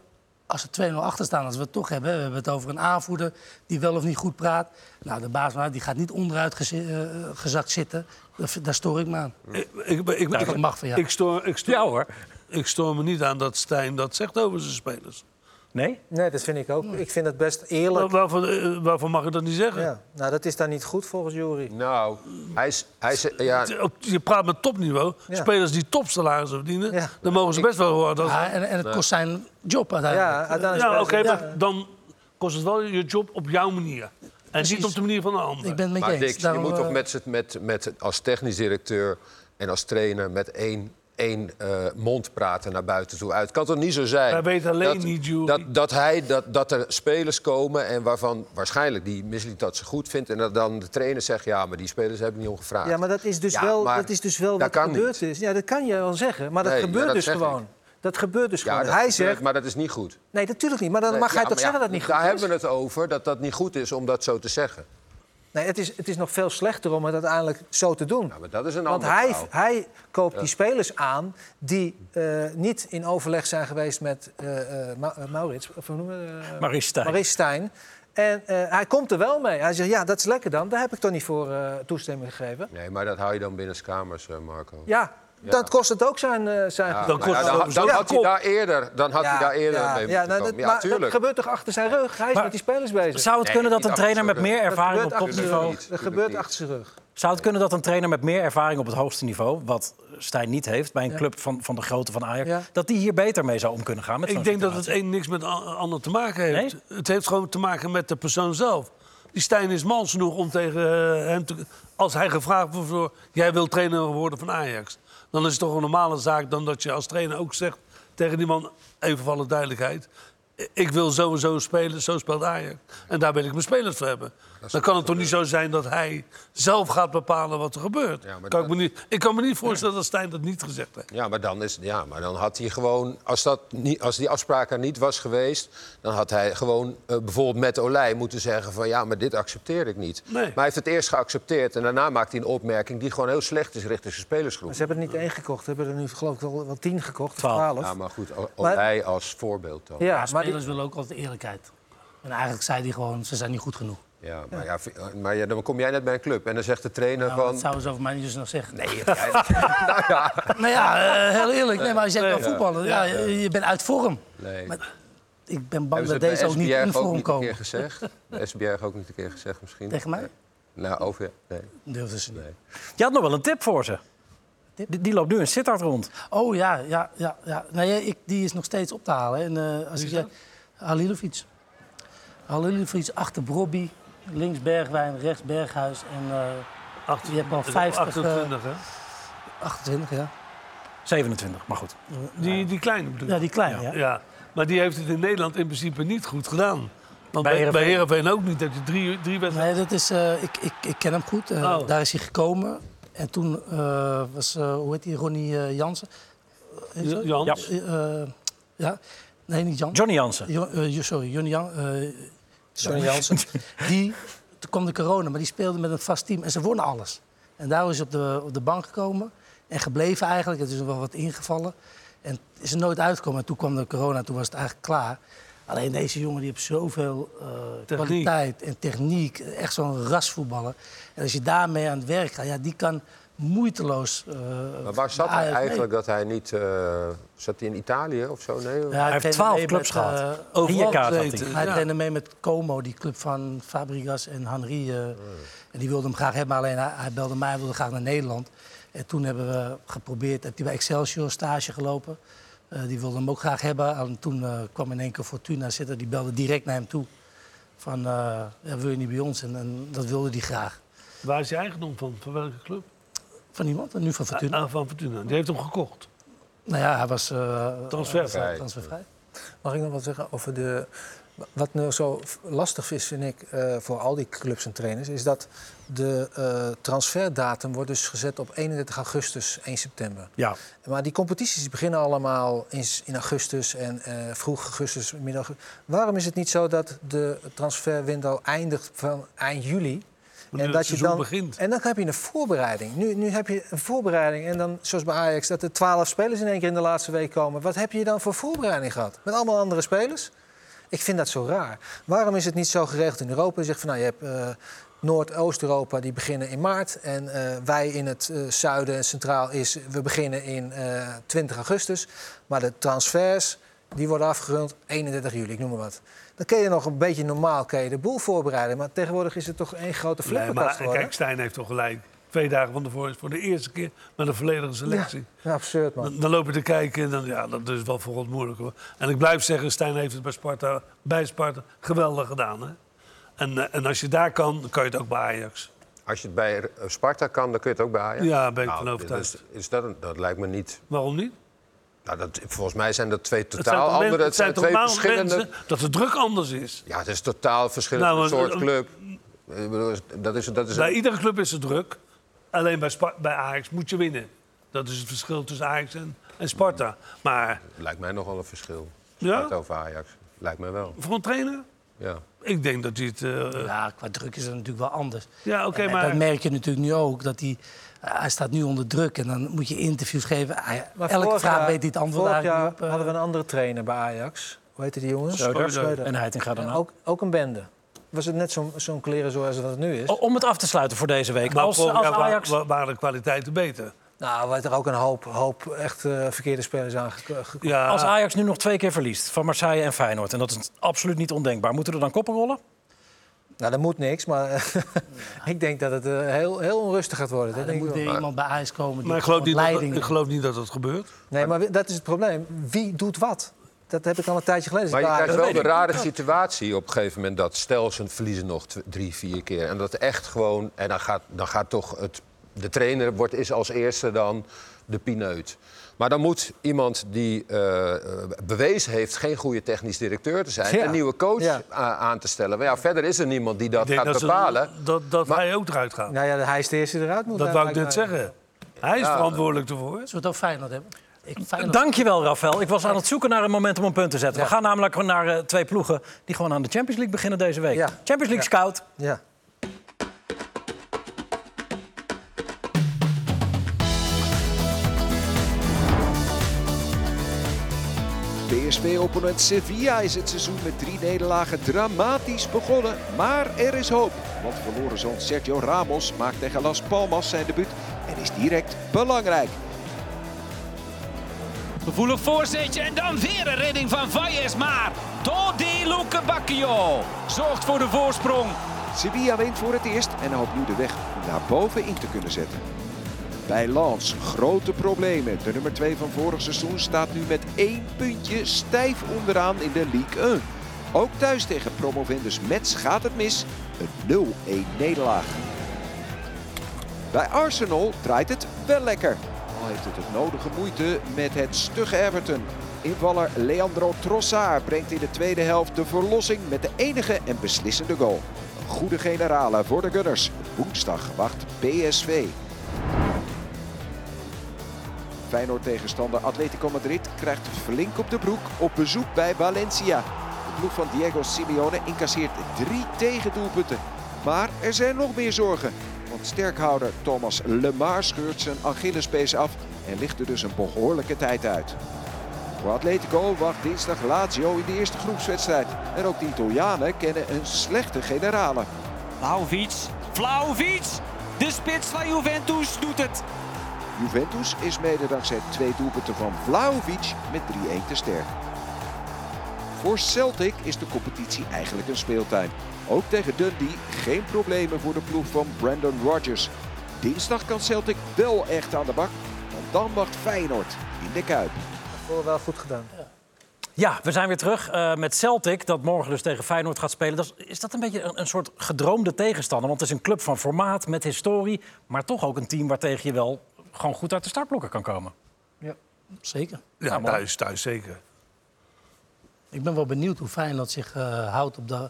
Speaker 5: als er 2-0 achter staan, als we het toch hebben. hè, We hebben het over een aanvoerder die wel of niet goed praat. Nou, de baas van Ajax die gaat niet onderuit gezi- eh, gezakt zitten. Daar, vind- daar stoor ik me aan.
Speaker 4: Ik, Eh, ik, ik,
Speaker 5: Nou, dat mag van jou.
Speaker 4: Ik stoor, ik, stoor,
Speaker 1: Ja hoor.
Speaker 4: ik stoor me niet aan dat Stijn dat zegt over zijn spelers.
Speaker 1: Nee?
Speaker 3: Nee, dat vind ik ook. Ik vind het best
Speaker 4: Waar-
Speaker 3: eerlijk.
Speaker 4: Waarvan, eh, waarvan mag ik dat niet zeggen?
Speaker 3: Ja. Nou, dat is dan niet goed volgens Jury.
Speaker 6: Nou, hij is... Hij is ja,
Speaker 4: Het- op- Je praat met topniveau.
Speaker 3: Ja.
Speaker 4: Spelers die topsalarissen verdienen,
Speaker 3: Ja.
Speaker 4: dan mogen ze best wel horen. Dat...
Speaker 5: Ja, en, en het kost zijn job uiteindelijk.
Speaker 3: Ja, uiteindelijk
Speaker 4: ja, oké,
Speaker 3: spelen ze-
Speaker 4: maar dan kost het wel je job op jouw manier. En niet op de manier van de ander.
Speaker 5: Ik ben het met je
Speaker 6: maar
Speaker 5: eens.
Speaker 3: eh,
Speaker 6: Dick, je
Speaker 5: Daarom,
Speaker 6: moet toch
Speaker 5: eh,
Speaker 6: met, z'n- met, met, als technisch directeur en als trainer met één één eh, mond praten naar buiten toe uit. Kan toch niet zo zijn?
Speaker 4: Wij weten alleen niet, Joeri.
Speaker 6: dat, dat, hij, dat, dat er spelers komen en waarvan waarschijnlijk die Misli dat ze goed vindt... en dat dan de trainer zegt, ja, maar die spelers hebben niet om gevraagd.
Speaker 3: Ja, maar dat is dus
Speaker 6: Ja,
Speaker 3: wel,
Speaker 6: maar
Speaker 3: dat is dus wel
Speaker 6: dat
Speaker 3: wat
Speaker 6: kan
Speaker 3: gebeurd
Speaker 6: niet.
Speaker 3: is. Ja, dat kan je wel zeggen, maar dat
Speaker 6: Nee, ja,
Speaker 3: gebeurt
Speaker 6: dat
Speaker 3: dus
Speaker 6: zeg
Speaker 3: gewoon.
Speaker 6: ik.
Speaker 3: Dat gebeurt dus
Speaker 6: Ja,
Speaker 3: gewoon.
Speaker 6: dat
Speaker 3: Hij
Speaker 6: gebeurt,
Speaker 3: zegt,
Speaker 6: maar dat is niet goed.
Speaker 3: nee, natuurlijk niet. Maar dan mag
Speaker 6: Ja,
Speaker 3: hij toch
Speaker 6: maar ja,
Speaker 3: zeggen dat het niet goed
Speaker 6: daar
Speaker 3: is?
Speaker 6: hebben we het over, dat dat niet goed is om dat zo te zeggen.
Speaker 3: Nee, het is, het is nog veel slechter om het uiteindelijk zo te doen.
Speaker 6: Ja, maar dat is een
Speaker 3: Want
Speaker 6: ander
Speaker 3: hij,
Speaker 6: verhaal.
Speaker 3: hij koopt die spelers aan die eh, niet in overleg zijn geweest met eh eh, Ma- eh, Maurits, of hoe noemen we eh,
Speaker 1: Maurice Stijn.
Speaker 3: Maurice Stijn. En eh, hij komt er wel mee. Hij zegt, ja, dat is lekker dan. Daar heb ik toch niet voor eh, toestemming gegeven.
Speaker 6: Nee, maar dat hou je dan binnen de kamers, eh, Marco.
Speaker 3: Ja, dat kost het ook zijn, eh, zijn
Speaker 6: Ja,
Speaker 3: gevoel.
Speaker 6: nou ja, dan, dan had hij daar eerder, dan had hij daar eerder
Speaker 3: ja, ja,
Speaker 6: mee moeten
Speaker 3: nou, dat-
Speaker 6: komen. Ja,
Speaker 3: maar dat
Speaker 6: tuurlijk.
Speaker 3: gebeurt toch achter zijn rug? Hij is
Speaker 1: Maar-
Speaker 3: met die spelers bezig.
Speaker 1: Zou het
Speaker 6: Nee,
Speaker 1: kunnen dat
Speaker 6: niet
Speaker 1: een trainer met
Speaker 6: achter
Speaker 1: meer
Speaker 6: zijn
Speaker 3: dat
Speaker 1: ervaring
Speaker 3: gebeurt,
Speaker 1: op
Speaker 3: achter zijn
Speaker 1: topniveau...
Speaker 3: rug. dat
Speaker 6: niet, natuurlijk
Speaker 3: gebeurt
Speaker 6: niet.
Speaker 3: achter zijn rug.
Speaker 1: Zou het kunnen dat een trainer met meer ervaring op het hoogste niveau... wat Stijn niet heeft bij een club van, van de grootte van Ajax...
Speaker 3: Ja.
Speaker 1: dat die hier beter mee zou om kunnen gaan? Met zo'n
Speaker 4: Ik denk dat het
Speaker 1: situatie?
Speaker 4: een niks met a- ander te maken heeft. Het heeft gewoon te maken met de persoon zelf. Die Stijn is mans genoeg om tegen eh, hem te... Als hij gevraagd wordt voor... Jij wil trainer worden van Ajax. Dan is het toch een normale zaak dan dat je als trainer ook zegt... tegen die man, even voor alle duidelijkheid... Ik wil sowieso spelen, zo speelt Ajax. En daar wil ik mijn spelers voor hebben. Dan kan het toch niet zo zijn dat hij zelf gaat bepalen wat er gebeurt.
Speaker 6: Ja, maar
Speaker 4: kan
Speaker 6: dat-
Speaker 4: ik, me niet, ik kan me niet voorstellen dat Stijn dat niet gezegd heeft.
Speaker 6: Ja, maar dan, is, ja, maar dan had hij gewoon, als, dat niet, als die afspraak er niet was geweest, dan had hij gewoon eh, bijvoorbeeld met Olij moeten zeggen van ja, maar dit accepteer ik niet.
Speaker 4: Nee.
Speaker 6: Maar hij heeft het eerst geaccepteerd en daarna maakt hij een opmerking die gewoon heel slecht is richting zijn spelersgroep.
Speaker 3: Maar ze hebben er niet één gekocht. Ze hebben er nu geloof ik wel, wel tien gekocht. of
Speaker 1: Twaalf.
Speaker 3: Twaalf.
Speaker 6: Ja, maar goed, O-
Speaker 3: Maar-
Speaker 6: Olij als voorbeeld dan.
Speaker 3: Ja,
Speaker 5: Ja,
Speaker 3: maar die-
Speaker 5: spelers willen ook altijd eerlijkheid. En eigenlijk zei hij gewoon, ze zijn niet goed genoeg.
Speaker 6: Ja, maar, ja, vi- maar ja, dan kom jij net bij een club en dan zegt de trainer
Speaker 5: Nou,
Speaker 6: van...
Speaker 5: dat zouden ze over mij niet dus nog zeggen. Nee.
Speaker 6: nou ja,
Speaker 5: Nou ja, eh, heel eerlijk. Nee, maar als jij kan voetballen, ja, je je bent uit vorm.
Speaker 6: nee.
Speaker 5: Maar ik ben bang dat
Speaker 6: Hebben ze
Speaker 5: deze ook
Speaker 6: het bij
Speaker 5: niet
Speaker 6: SBR
Speaker 5: in
Speaker 6: ook
Speaker 5: vorm
Speaker 6: niet een keer
Speaker 5: komen.
Speaker 6: gezegd? De SBR ook niet een keer gezegd misschien?
Speaker 5: Tegen mij?
Speaker 6: Nou, over... Nee.
Speaker 5: Durfden ze niet.
Speaker 1: Je had nog wel een tip voor ze. Die, die loopt nu in Sittard rond.
Speaker 5: Oh ja, ja, ja. ja. Nee, ik, die is nog steeds op te halen. hè. En, eh, als ik, zeg- Halilovic. Halilovic achter Brobby. Links Bergwijn, rechts Berghuis. En eh, je hebt al 50, eh,
Speaker 4: 28, hè?
Speaker 5: 28, ja.
Speaker 1: 27, maar goed.
Speaker 4: Die, die kleine bedoel
Speaker 5: Ja, die kleine, ja.
Speaker 4: Ja, maar die heeft het in Nederland in principe niet goed gedaan. Want
Speaker 1: Bij
Speaker 4: bij,
Speaker 1: Heerenveen.
Speaker 4: bij Heerenveen ook niet. Dat je drie, drie wedstrijden...
Speaker 5: Nee, dat is, eh, ik, ik, ik ken hem goed. Eh,
Speaker 4: Oh.
Speaker 5: Daar is hij gekomen. En toen eh, was, eh, hoe heet die, Ronnie eh, Jansen? Heet ze?
Speaker 4: Jan,
Speaker 1: Ja.
Speaker 5: Eh, eh, ja, nee, niet Jan.
Speaker 1: Johnny Jansen.
Speaker 5: Jo- eh, sorry, Johnny Jan. eh,
Speaker 3: Johnny Jansen.
Speaker 5: die, toen kwam de corona, maar die speelde met een vast team en ze wonnen alles. En daarom is hij op de, op de bank gekomen en gebleven eigenlijk. Het is wel wat ingevallen. En is er nooit uitgekomen. En toen kwam de corona, toen was het eigenlijk klaar. Alleen deze jongen die heeft zoveel eh, kwaliteit en techniek. Echt zo'n rasvoetballer. En als je daarmee aan het werk gaat, ja, die kan moeiteloos. eh,
Speaker 6: Maar waar zat
Speaker 5: bij Ajax
Speaker 6: hij
Speaker 5: mee.
Speaker 6: eigenlijk dat hij niet... eh, zat hij in Italië of zo? Nee?
Speaker 5: Ja, hij
Speaker 1: heeft
Speaker 5: trainde
Speaker 1: 12
Speaker 5: mee
Speaker 1: clubs
Speaker 5: met,
Speaker 1: gehad.
Speaker 5: eh,
Speaker 4: Overal
Speaker 1: Rijkaard had
Speaker 4: gezeten.
Speaker 5: Hij
Speaker 4: Ja.
Speaker 5: trainde mee met Como, die club van Fabregas en Henry. eh, En die wilde hem graag hebben, alleen hij, hij belde mij, hij wilde graag naar Nederland. En toen hebben we geprobeerd, heb hij bij Excelsior stage gelopen. Eh, die wilde hem ook graag hebben. En toen eh, kwam in één keer Fortuna zitten, die belde direct naar hem toe. Van, eh, ja, wil je niet bij ons? En, en dat wilde hij graag.
Speaker 4: Waar is hij eigendom van? Van welke club?
Speaker 5: Van iemand, en nu van Fortuna.
Speaker 4: Ah, van Fortuna. Die heeft hem gekocht.
Speaker 5: Nou ja, hij was eh,
Speaker 4: Transfervrij.
Speaker 5: eh, transfervrij.
Speaker 3: Mag ik nog wat zeggen over de. Wat nou zo f- lastig is, vind ik, eh, voor al die clubs en trainers, is dat de eh, transferdatum wordt dus gezet op 31 augustus, 1 september.
Speaker 1: Ja.
Speaker 3: Maar die competities die beginnen allemaal in, s- in augustus en eh, vroeg augustus, middag. Waarom is het niet zo dat de transferwindow eindigt van eind juli?
Speaker 4: Wanneer het seizoen begint.
Speaker 3: En dan heb je een voorbereiding. Nu, nu heb je een voorbereiding. En dan, zoals bij Ajax, dat er twaalf spelers in één keer in de laatste week komen. Wat heb je dan voor voorbereiding gehad? Met allemaal andere spelers? Ik vind dat zo raar. Waarom is het niet zo geregeld in Europa? Je zegt van, nou, je hebt eh, Noord-Oost-Europa, die beginnen in maart. En eh, wij in het eh, zuiden en centraal is, we beginnen in eh, 20 augustus. Maar de transfers, die worden afgerond 31 juli, ik noem maar wat. Dan kun je nog een beetje normaal kun je de boel voorbereiden. Maar tegenwoordig is het toch één grote
Speaker 4: Nee,
Speaker 3: flipperkast
Speaker 4: maar
Speaker 3: geworden.
Speaker 4: kijk, Stijn heeft toch gelijk. Twee dagen van tevoren is voor de eerste keer met een volledige selectie.
Speaker 3: Ja, absurd, man.
Speaker 4: Dan, dan loop je te kijken en dan, ja, dat is wel voor ons moeilijk hoor. En ik blijf zeggen, Stijn heeft het bij Sparta, bij Sparta geweldig gedaan. Hè? En, eh, en als je daar kan, dan kan je het ook bij Ajax.
Speaker 6: Als je het bij eh, Sparta kan, dan kun je het ook bij Ajax.
Speaker 4: Ja, ben ik
Speaker 6: Nou,
Speaker 4: van overtuigd.
Speaker 6: dus Is, dat, een- dat lijkt me niet.
Speaker 4: Waarom niet?
Speaker 6: Nou, dat, volgens mij zijn dat twee
Speaker 4: Het zijn
Speaker 6: totaal
Speaker 4: toch men-
Speaker 6: andere. Het zijn,
Speaker 4: het zijn
Speaker 6: twee
Speaker 4: toch maar
Speaker 6: verschillende.
Speaker 4: mensen dat de druk anders is.
Speaker 6: Ja, het is totaal verschillende
Speaker 4: Nou, maar-
Speaker 6: soort club. Ik bedoel, dat is, dat is
Speaker 4: Bij iedere club is er druk. Alleen bij, Spa- bij Ajax moet je winnen. Dat is het verschil tussen Ajax en, en Sparta. Maar
Speaker 6: lijkt mij nogal een verschil.
Speaker 4: Ja?
Speaker 6: Gaat over Ajax. Lijkt mij wel.
Speaker 4: voor een trainer,
Speaker 6: Ja.
Speaker 4: ik denk dat hij het... eh,
Speaker 5: Ja, qua druk is dat natuurlijk wel anders.
Speaker 4: ja, oké,
Speaker 5: En Dat
Speaker 4: maar...
Speaker 5: merk je natuurlijk nu ook. Dat hij, hij staat nu onder druk en dan moet je interviews geven. Hij-
Speaker 3: Maar
Speaker 5: elke
Speaker 3: vorig
Speaker 5: vraag
Speaker 3: jaar-
Speaker 5: weet hij het antwoord
Speaker 3: vorig
Speaker 5: eigenlijk
Speaker 3: jaar
Speaker 5: niet op. eh.
Speaker 3: hadden we een andere trainer bij Ajax. Hoe heette die jongens?
Speaker 1: Schreuder.
Speaker 3: Schreuder.
Speaker 1: En Heitinga daarna.
Speaker 3: En ook, ook een bende. Was het net zo'n zo'n kleren zoals dat het nu is?
Speaker 1: O- Om het af te sluiten voor deze week.
Speaker 4: Maar
Speaker 1: Als,
Speaker 4: vorig
Speaker 1: als
Speaker 4: jaar wa-
Speaker 1: Ajax...
Speaker 4: wa- waren de kwaliteiten beter.
Speaker 3: Nou, we hebben er ook een hoop, hoop echt eh, verkeerde spelers aangekomen.
Speaker 4: Ja,
Speaker 1: Als Ajax nu nog twee keer verliest van Marseille en Feyenoord... en dat is absoluut niet ondenkbaar, moeten er dan koppen rollen?
Speaker 3: Nou, dat moet niks, maar ik denk dat het eh, heel, heel onrustig gaat worden. dat
Speaker 5: er
Speaker 3: denk ik
Speaker 5: moet
Speaker 3: wel.
Speaker 5: weer iemand bij Ajax komen die
Speaker 4: maar ik geloof, niet dat,
Speaker 5: leiding...
Speaker 4: ik geloof niet dat dat gebeurt.
Speaker 3: Nee, maar dat is het probleem. Wie doet wat? Dat heb ik al een tijdje geleden.
Speaker 6: Maar je
Speaker 3: Daar-
Speaker 6: krijgt
Speaker 3: dat
Speaker 6: wel
Speaker 3: weet
Speaker 6: de
Speaker 3: ik.
Speaker 6: rare situatie op een gegeven moment dat stel ze verliezen nog tw- drie, vier keer. En dat echt gewoon, en dan gaat, dan gaat toch het, de trainer wordt, is als eerste dan de pineut. Maar dan moet iemand die eh, eh, bewezen heeft geen goede technisch directeur te zijn,
Speaker 3: Ja.
Speaker 6: een nieuwe coach
Speaker 3: Ja.
Speaker 6: a- aan te stellen. Maar ja, verder is er niemand die dat
Speaker 4: Ik denk
Speaker 6: gaat
Speaker 4: dat, ze-
Speaker 6: bepalen.
Speaker 4: dat, dat
Speaker 6: Maar-
Speaker 4: hij ook eruit gaat.
Speaker 3: Nou ja, hij is de eerste die eruit moet.
Speaker 4: dat
Speaker 3: eh,
Speaker 4: wou ik
Speaker 3: lijkt
Speaker 4: net
Speaker 3: mij.
Speaker 4: zeggen. Hij is verantwoordelijk ervoor.
Speaker 5: Zullen we het ook Feyenoord hebben? Ik, Feyenoord.
Speaker 1: Dankjewel, Rafael. Ik was aan het zoeken naar een moment om een punt te zetten. We gaan namelijk naar eh, twee ploegen die gewoon aan de Champions League beginnen deze week.
Speaker 3: Ja.
Speaker 1: Champions League scout.
Speaker 3: Ja.
Speaker 8: PSV-opponent Sevilla is het seizoen met drie nederlagen dramatisch begonnen. Maar er is hoop, want verloren zoon Sergio Ramos maakt tegen Las Palmas zijn debuut en is direct belangrijk.
Speaker 9: Gevoelig voorzetje en dan weer een redding van Valles. Maar Dodi Luke Bacchio zorgt voor de voorsprong.
Speaker 8: Sevilla wint voor het eerst en hoopt nu de weg om naar boven in te kunnen zetten. Bij Lans grote problemen. De nummer 2 van vorig seizoen staat nu met één puntje stijf onderaan in de League 1. Ook thuis tegen promovendus Metz gaat het mis. Een 0-1 nederlaag. Bij Arsenal draait het wel lekker. Al heeft het het nodige moeite met het stugge Everton. Invaller Leandro Trossard brengt in de tweede helft de verlossing met de enige en beslissende goal. Een goede generale voor de Gunners. Woensdag wacht PSV. Feyenoord tegenstander Atletico Madrid krijgt flink op de broek op bezoek bij Valencia. De ploeg van Diego Simeone incasseert drie tegendoelpunten. Maar er zijn nog meer zorgen. Want sterkhouder Thomas Lemar scheurt zijn Achillespees af en ligt er dus een behoorlijke tijd uit. Voor Atletico wacht dinsdag Lazio in de eerste groepswedstrijd. En ook de Italianen kennen een slechte generale.
Speaker 9: Vlaovic, Vlaovic, de spits van Juventus doet het.
Speaker 8: Juventus is mede dankzij twee doelpunten van Vlaovic met 3-1 te sterk. Voor Celtic is de competitie eigenlijk een speeltuin. Ook tegen Dundee geen problemen voor de ploeg van Brandon Rodgers. Dinsdag kan Celtic wel echt aan de bak, want dan wacht Feyenoord in de Kuip.
Speaker 3: Voor wel goed gedaan.
Speaker 1: Ja, we zijn weer terug eh, met Celtic, dat morgen dus tegen Feyenoord gaat spelen. Dat is, is dat een beetje een, een soort gedroomde tegenstander? Want het is een club van formaat, met historie... maar toch ook een team waartegen je wel gewoon goed uit de startblokken kan komen.
Speaker 5: Zeker.
Speaker 4: Ja, thuis, thuis zeker.
Speaker 5: Ik ben wel benieuwd hoe Feyenoord zich eh, houdt op de,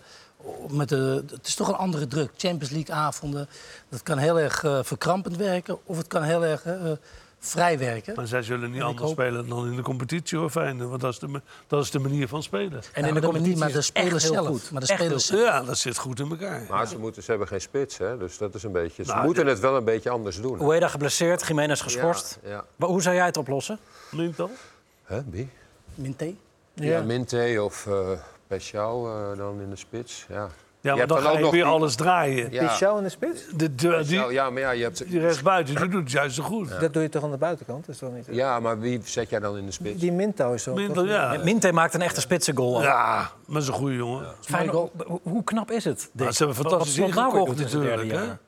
Speaker 5: met de... Het is toch een andere druk. Champions League-avonden. Dat kan heel erg eh, verkrampend werken of het kan heel erg eh, vrij werken.
Speaker 4: Maar zij zullen
Speaker 5: En
Speaker 4: niet
Speaker 5: ik
Speaker 4: anders
Speaker 5: hoop-
Speaker 4: spelen dan in de competitie hoor, Feyenoord. Want dat is de, me- dat is de manier van spelen.
Speaker 1: En
Speaker 5: Nou,
Speaker 1: in de
Speaker 5: dat manier,
Speaker 1: competitie
Speaker 5: maar
Speaker 1: is
Speaker 5: de
Speaker 1: het
Speaker 5: spelers
Speaker 1: echt heel
Speaker 5: zelf.
Speaker 1: goed.
Speaker 5: Maar de
Speaker 1: Echt heel
Speaker 5: spelers
Speaker 4: Ja, dat zit goed in elkaar.
Speaker 6: Maar ze, moeten, ze hebben geen spits, hè? dus dat is een beetje. Ze
Speaker 4: Nou,
Speaker 6: moeten het wel een beetje anders doen.
Speaker 1: Ueda geblesseerd, Jiménez geschorst.
Speaker 6: Ja, ja.
Speaker 1: Maar Hoe zou jij het oplossen?
Speaker 4: Niet al?
Speaker 6: Hè, wie?
Speaker 5: Minté?
Speaker 6: Ja, Minte of eh Pechau eh, dan in de spits. Ja, Je
Speaker 4: Ja, maar
Speaker 6: hebt
Speaker 4: dan
Speaker 6: dan ook
Speaker 4: ga je
Speaker 6: nog
Speaker 4: weer
Speaker 6: die-
Speaker 4: alles draaien.
Speaker 6: ja.
Speaker 3: Die show in de spits,
Speaker 4: De, de- die,
Speaker 6: Nou, ja, maar ja, je hebt...
Speaker 4: die rechtsbuiten, die doet het juist zo goed.
Speaker 3: dat doe je toch aan de buitenkant? Dat is toch niet...
Speaker 6: Ja, maar wie zet jij dan in de spits?
Speaker 3: Die Minto is zo.
Speaker 4: Minder, ja.
Speaker 1: Minte maakt een echte spitsengoal.
Speaker 4: ja, maar is een goede jongen.
Speaker 1: Feyenoord, hoe, hoe knap is het? Dick?
Speaker 4: Nou, ze hebben
Speaker 1: Wat-
Speaker 4: fantastisch
Speaker 1: wat Slot nou
Speaker 4: ingekocht
Speaker 1: kocht in de derde
Speaker 4: natuurlijk. Hè?
Speaker 1: jaren?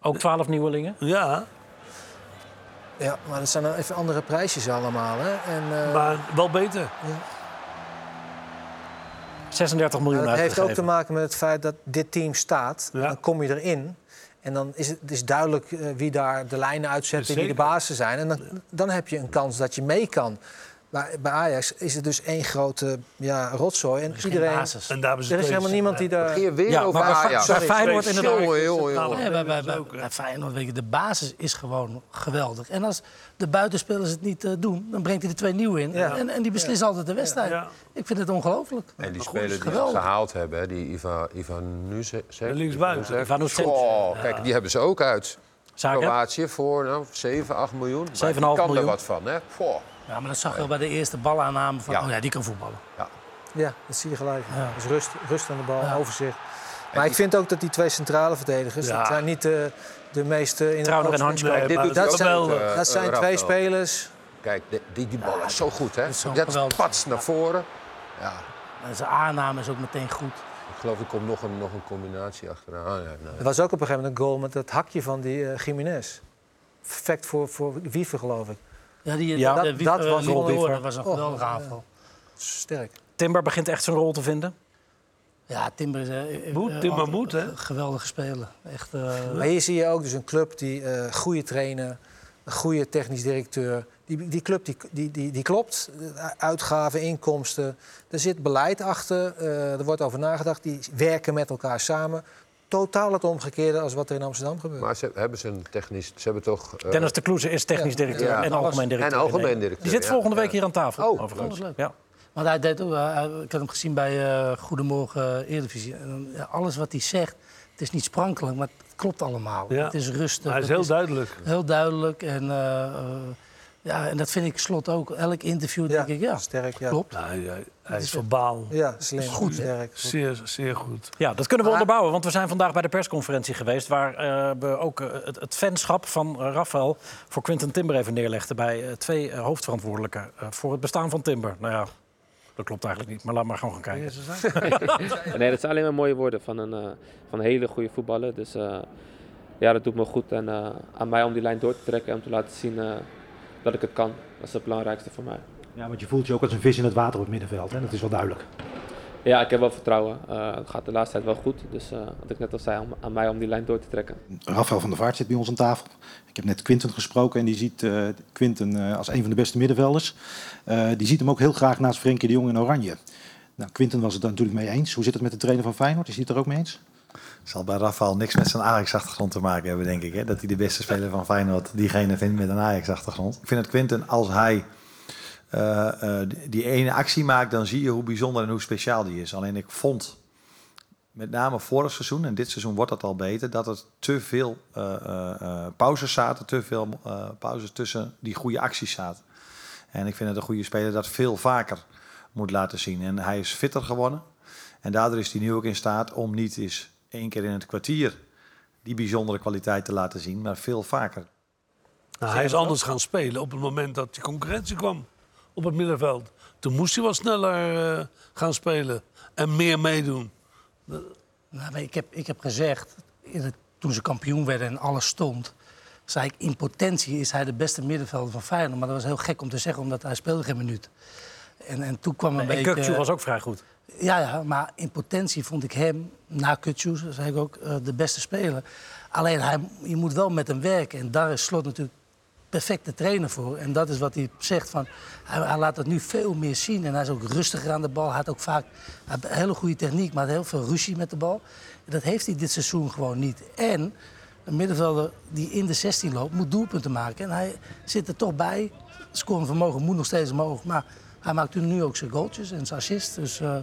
Speaker 1: Ook twaalf nieuwelingen?
Speaker 4: Ja,
Speaker 3: Ja, maar dat zijn nou even andere prijsjes allemaal. Hè? En, eh,
Speaker 4: maar wel beter.
Speaker 1: 36 miljoen
Speaker 3: Maar dat heeft
Speaker 1: uitgegeven.
Speaker 3: ook te maken met het feit dat dit team staat.
Speaker 4: Ja.
Speaker 3: Dan kom je erin. En dan is het is duidelijk eh, wie daar de lijnen uitzet en wie de
Speaker 4: Zeker.
Speaker 3: bazen zijn. En dan, dan heb je een kans dat je mee kan. Maar bij Ajax is het dus één grote ja, rotzooi. En
Speaker 5: is geen
Speaker 3: iedereen, er
Speaker 5: basis.
Speaker 4: En daar hebben
Speaker 3: is
Speaker 4: ze twee-
Speaker 3: helemaal niemand die daar...
Speaker 6: Hier weer
Speaker 1: Ja, maar
Speaker 6: over
Speaker 1: bij Fa-
Speaker 6: Ajax.
Speaker 1: bij Feyenoord
Speaker 6: Sorry.
Speaker 1: inderdaad.
Speaker 6: Jongen, jongen, jongen.
Speaker 5: Nee, bij, bij, bij,
Speaker 4: ook, hè.
Speaker 5: bij Feyenoord, weet je, de basis is gewoon geweldig. En als de buitenspelers het niet eh, doen, dan brengt hij er twee nieuwe in.
Speaker 3: Ja.
Speaker 5: En, en die beslissen altijd de wedstrijd.
Speaker 4: Ja.
Speaker 5: Ik vind het ongelooflijk.
Speaker 6: En die
Speaker 5: Maar goed,
Speaker 6: spelers die ze
Speaker 5: geweldig.
Speaker 6: gehaald hebben, hè, die Ivan, Ivan Nuzek.
Speaker 4: linksbuiten.
Speaker 1: Ivan Nuzek.
Speaker 6: Oh, kijk, die hebben ze ook uit.
Speaker 1: Zaken?
Speaker 6: Kroatië voor nou, 7, 8 miljoen. Maar
Speaker 1: 7,5
Speaker 6: die kan
Speaker 1: miljoen.
Speaker 6: er wat van, hè? Goh.
Speaker 5: Ja, maar dat zag je al bij de eerste balaanname van,
Speaker 6: Ja.
Speaker 5: oh ja, die kan voetballen.
Speaker 3: Ja, dat zie je gelijk.
Speaker 5: Ja.
Speaker 3: Dus rust, rust aan de bal,
Speaker 5: Ja.
Speaker 3: overzicht. Maar ik vind ook dat die twee centrale verdedigers...
Speaker 4: Ja.
Speaker 3: dat zijn niet de, de meeste... in de
Speaker 1: Trouwner en
Speaker 3: opzicht.
Speaker 1: Hansko.
Speaker 4: Nee,
Speaker 6: Dit
Speaker 4: maar
Speaker 6: doet
Speaker 3: dat
Speaker 6: ook,
Speaker 3: zijn-
Speaker 6: eh,
Speaker 4: wel,
Speaker 3: Dat zijn
Speaker 6: Rafael.
Speaker 3: twee spelers.
Speaker 6: Kijk, die, die, die bal is zo goed, hè?
Speaker 5: is zo'n
Speaker 6: Dat is
Speaker 5: geweldig-
Speaker 6: pats naar voren. Ja,
Speaker 5: En zijn aanname is ook meteen goed.
Speaker 6: ik geloof, er komt nog een, nog een combinatie achteraan. Ah, nee, nee.
Speaker 3: Er was ook op een gegeven moment een goal met dat hakje van die eh, Jiménez. Perfect voor, voor Wiever, geloof ik.
Speaker 5: Ja, die,
Speaker 1: Ja,
Speaker 5: de-
Speaker 3: dat
Speaker 5: eh,
Speaker 3: was
Speaker 5: Lieve
Speaker 3: Rolwiever.
Speaker 5: Hoorn, dat was een
Speaker 3: Oh,
Speaker 5: geweldige
Speaker 3: ja.
Speaker 5: aanval.
Speaker 3: Sterk.
Speaker 1: Timber begint echt zijn rol te vinden.
Speaker 5: Ja, Timber is... eh, eh,
Speaker 4: Moet,
Speaker 5: eh,
Speaker 4: Timber
Speaker 5: altijd
Speaker 4: moet, hè?
Speaker 5: een Geweldige speler. Echt... eh,
Speaker 3: Maar hier zie je ook dus een club die eh goede trainer, een goede technisch directeur. Die, die club die, die, die, die klopt. Eh, Uitgaven, inkomsten. Er zit beleid achter. eh, er wordt over nagedacht. Die werken met elkaar samen. Totaal het omgekeerde als wat er in Amsterdam gebeurt.
Speaker 6: Maar ze hebben ze een technisch... Ze hebben toch... eh,
Speaker 1: Dennis de Kloeze is technisch directeur
Speaker 6: Ja.
Speaker 1: en algemeen directeur.
Speaker 6: En algemeen
Speaker 1: in Nederland.
Speaker 6: directeur,
Speaker 1: Die zit
Speaker 6: ja.
Speaker 1: volgende week
Speaker 6: Ja.
Speaker 1: hier aan tafel,
Speaker 6: Oh,
Speaker 1: overigens.
Speaker 5: dat is leuk.
Speaker 1: Ja.
Speaker 5: Maar hij deed ook, eh, hij- ik had hem gezien bij eh, Goedemorgen eh, Eredivisie. En dan, ja, alles wat hij zegt, het is niet sprankelend, maar het klopt allemaal.
Speaker 4: Ja.
Speaker 5: Het is rustig.
Speaker 4: Maar Hij is
Speaker 5: het
Speaker 4: heel duidelijk.
Speaker 5: heel duidelijk. En, eh, eh, ja, en dat vind ik slot ook. Elk interview denk ik, ja,
Speaker 3: sterk. Ja.
Speaker 5: klopt.
Speaker 4: Nou, hij, hij is verbaal.
Speaker 3: Ja, slim.
Speaker 5: Goed, hè?
Speaker 3: sterk. Goed.
Speaker 4: Zeer, zeer goed.
Speaker 1: Ja, dat kunnen we
Speaker 3: Maar-
Speaker 1: onderbouwen, want we zijn vandaag bij de persconferentie geweest... waar eh, we ook eh, het, het fanschap van eh, Rafael voor Quinten Timber even neerlegden... bij eh, twee eh, hoofdverantwoordelijken eh, voor het bestaan van Timber. Nou ja, dat klopt eigenlijk niet, maar laat maar gewoon gaan kijken.
Speaker 10: Nee, dat zijn alleen maar mooie woorden van een, eh, van een hele goede voetballer. Dus eh, ja, dat doet me goed. En eh, aan mij om die lijn door te trekken en om te laten zien eh, dat ik het kan. Dat is het belangrijkste voor mij.
Speaker 11: Ja, want je voelt je ook als een vis in het water op het middenveld. Hè? Dat is wel duidelijk.
Speaker 10: Ja, ik heb wel vertrouwen. Eh, het gaat de laatste tijd wel goed. Dus eh, wat ik net al zei, om- aan mij om die lijn door te trekken.
Speaker 11: Rafael van der Vaart zit bij ons aan tafel. Ik heb net Quinten gesproken en die ziet eh, Quinten eh, als een van de beste middenvelders. Eh, die ziet hem ook heel graag naast Frenkie de Jong in Oranje. Nou, Quinten was het daar natuurlijk mee eens. Hoe zit het met de trainer van Feyenoord? Is hij het er ook mee eens?
Speaker 12: zal bij Rafael niks met zijn Ajax-achtergrond te maken hebben, denk ik. Hè? Dat hij de beste speler van Feyenoord diegene vindt met een Ajax-achtergrond. Ik vind dat Quinten, als hij eh, eh, die ene actie maakt, dan zie je hoe bijzonder en hoe speciaal die is. Alleen ik vond, met name vorig seizoen, en dit seizoen wordt dat al beter, dat er te veel eh, eh, eh, pauzes zaten, te veel eh, pauzes tussen die goede acties zaten. En ik vind dat een goede speler dat veel vaker moet laten zien. En hij is fitter geworden. En daardoor is hij nu ook in staat om niet eens één keer in het kwartier die bijzondere kwaliteit te laten zien, maar veel vaker.
Speaker 4: Nou, hij is anders gaan spelen op het moment dat die concurrentie kwam op het middenveld. Toen moest hij wat sneller eh, gaan spelen en meer meedoen.
Speaker 5: Nou, maar ik, heb, ik heb gezegd, in het- toen ze kampioen werden en alles stond... zei ik, in potentie is hij de beste middenvelder van Feyenoord. Maar dat was heel gek om te zeggen, omdat hij speelde geen minuut. En, en toen kwam een
Speaker 1: En
Speaker 5: beetje...
Speaker 1: Kukçu was ook vrij goed.
Speaker 5: Ja, ja, maar in potentie vond ik hem, na Kutsu, zei ik ook, eh, de beste speler. Alleen hij, je moet wel met hem werken. En daar is Slot natuurlijk perfecte trainer voor. En dat is wat hij zegt. Van, hij, hij laat het nu veel meer zien. En hij is ook rustiger aan de bal. Hij had ook vaak hij had een hele goede techniek, maar had heel veel ruzie met de bal. En dat heeft hij dit seizoen gewoon niet. En een middenvelder die in de 16 loopt, moet doelpunten maken. En hij zit er toch bij. Scoren vermogen moet nog steeds omhoog. Maar hij maakt nu ook zijn goaltjes en zijn assists. Dus eh,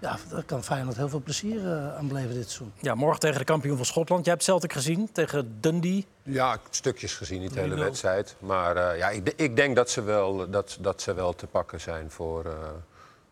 Speaker 5: ja, daar kan Feyenoord heel veel plezier eh, aan beleven dit seizoen.
Speaker 1: Ja, morgen tegen de kampioen van Schotland. Jij hebt Celtic gezien tegen Dundee.
Speaker 6: Ja, stukjes gezien, niet de hele wedstrijd. Maar eh, ja, ik, de- ik denk dat ze, wel, dat, dat ze wel te pakken zijn voor, eh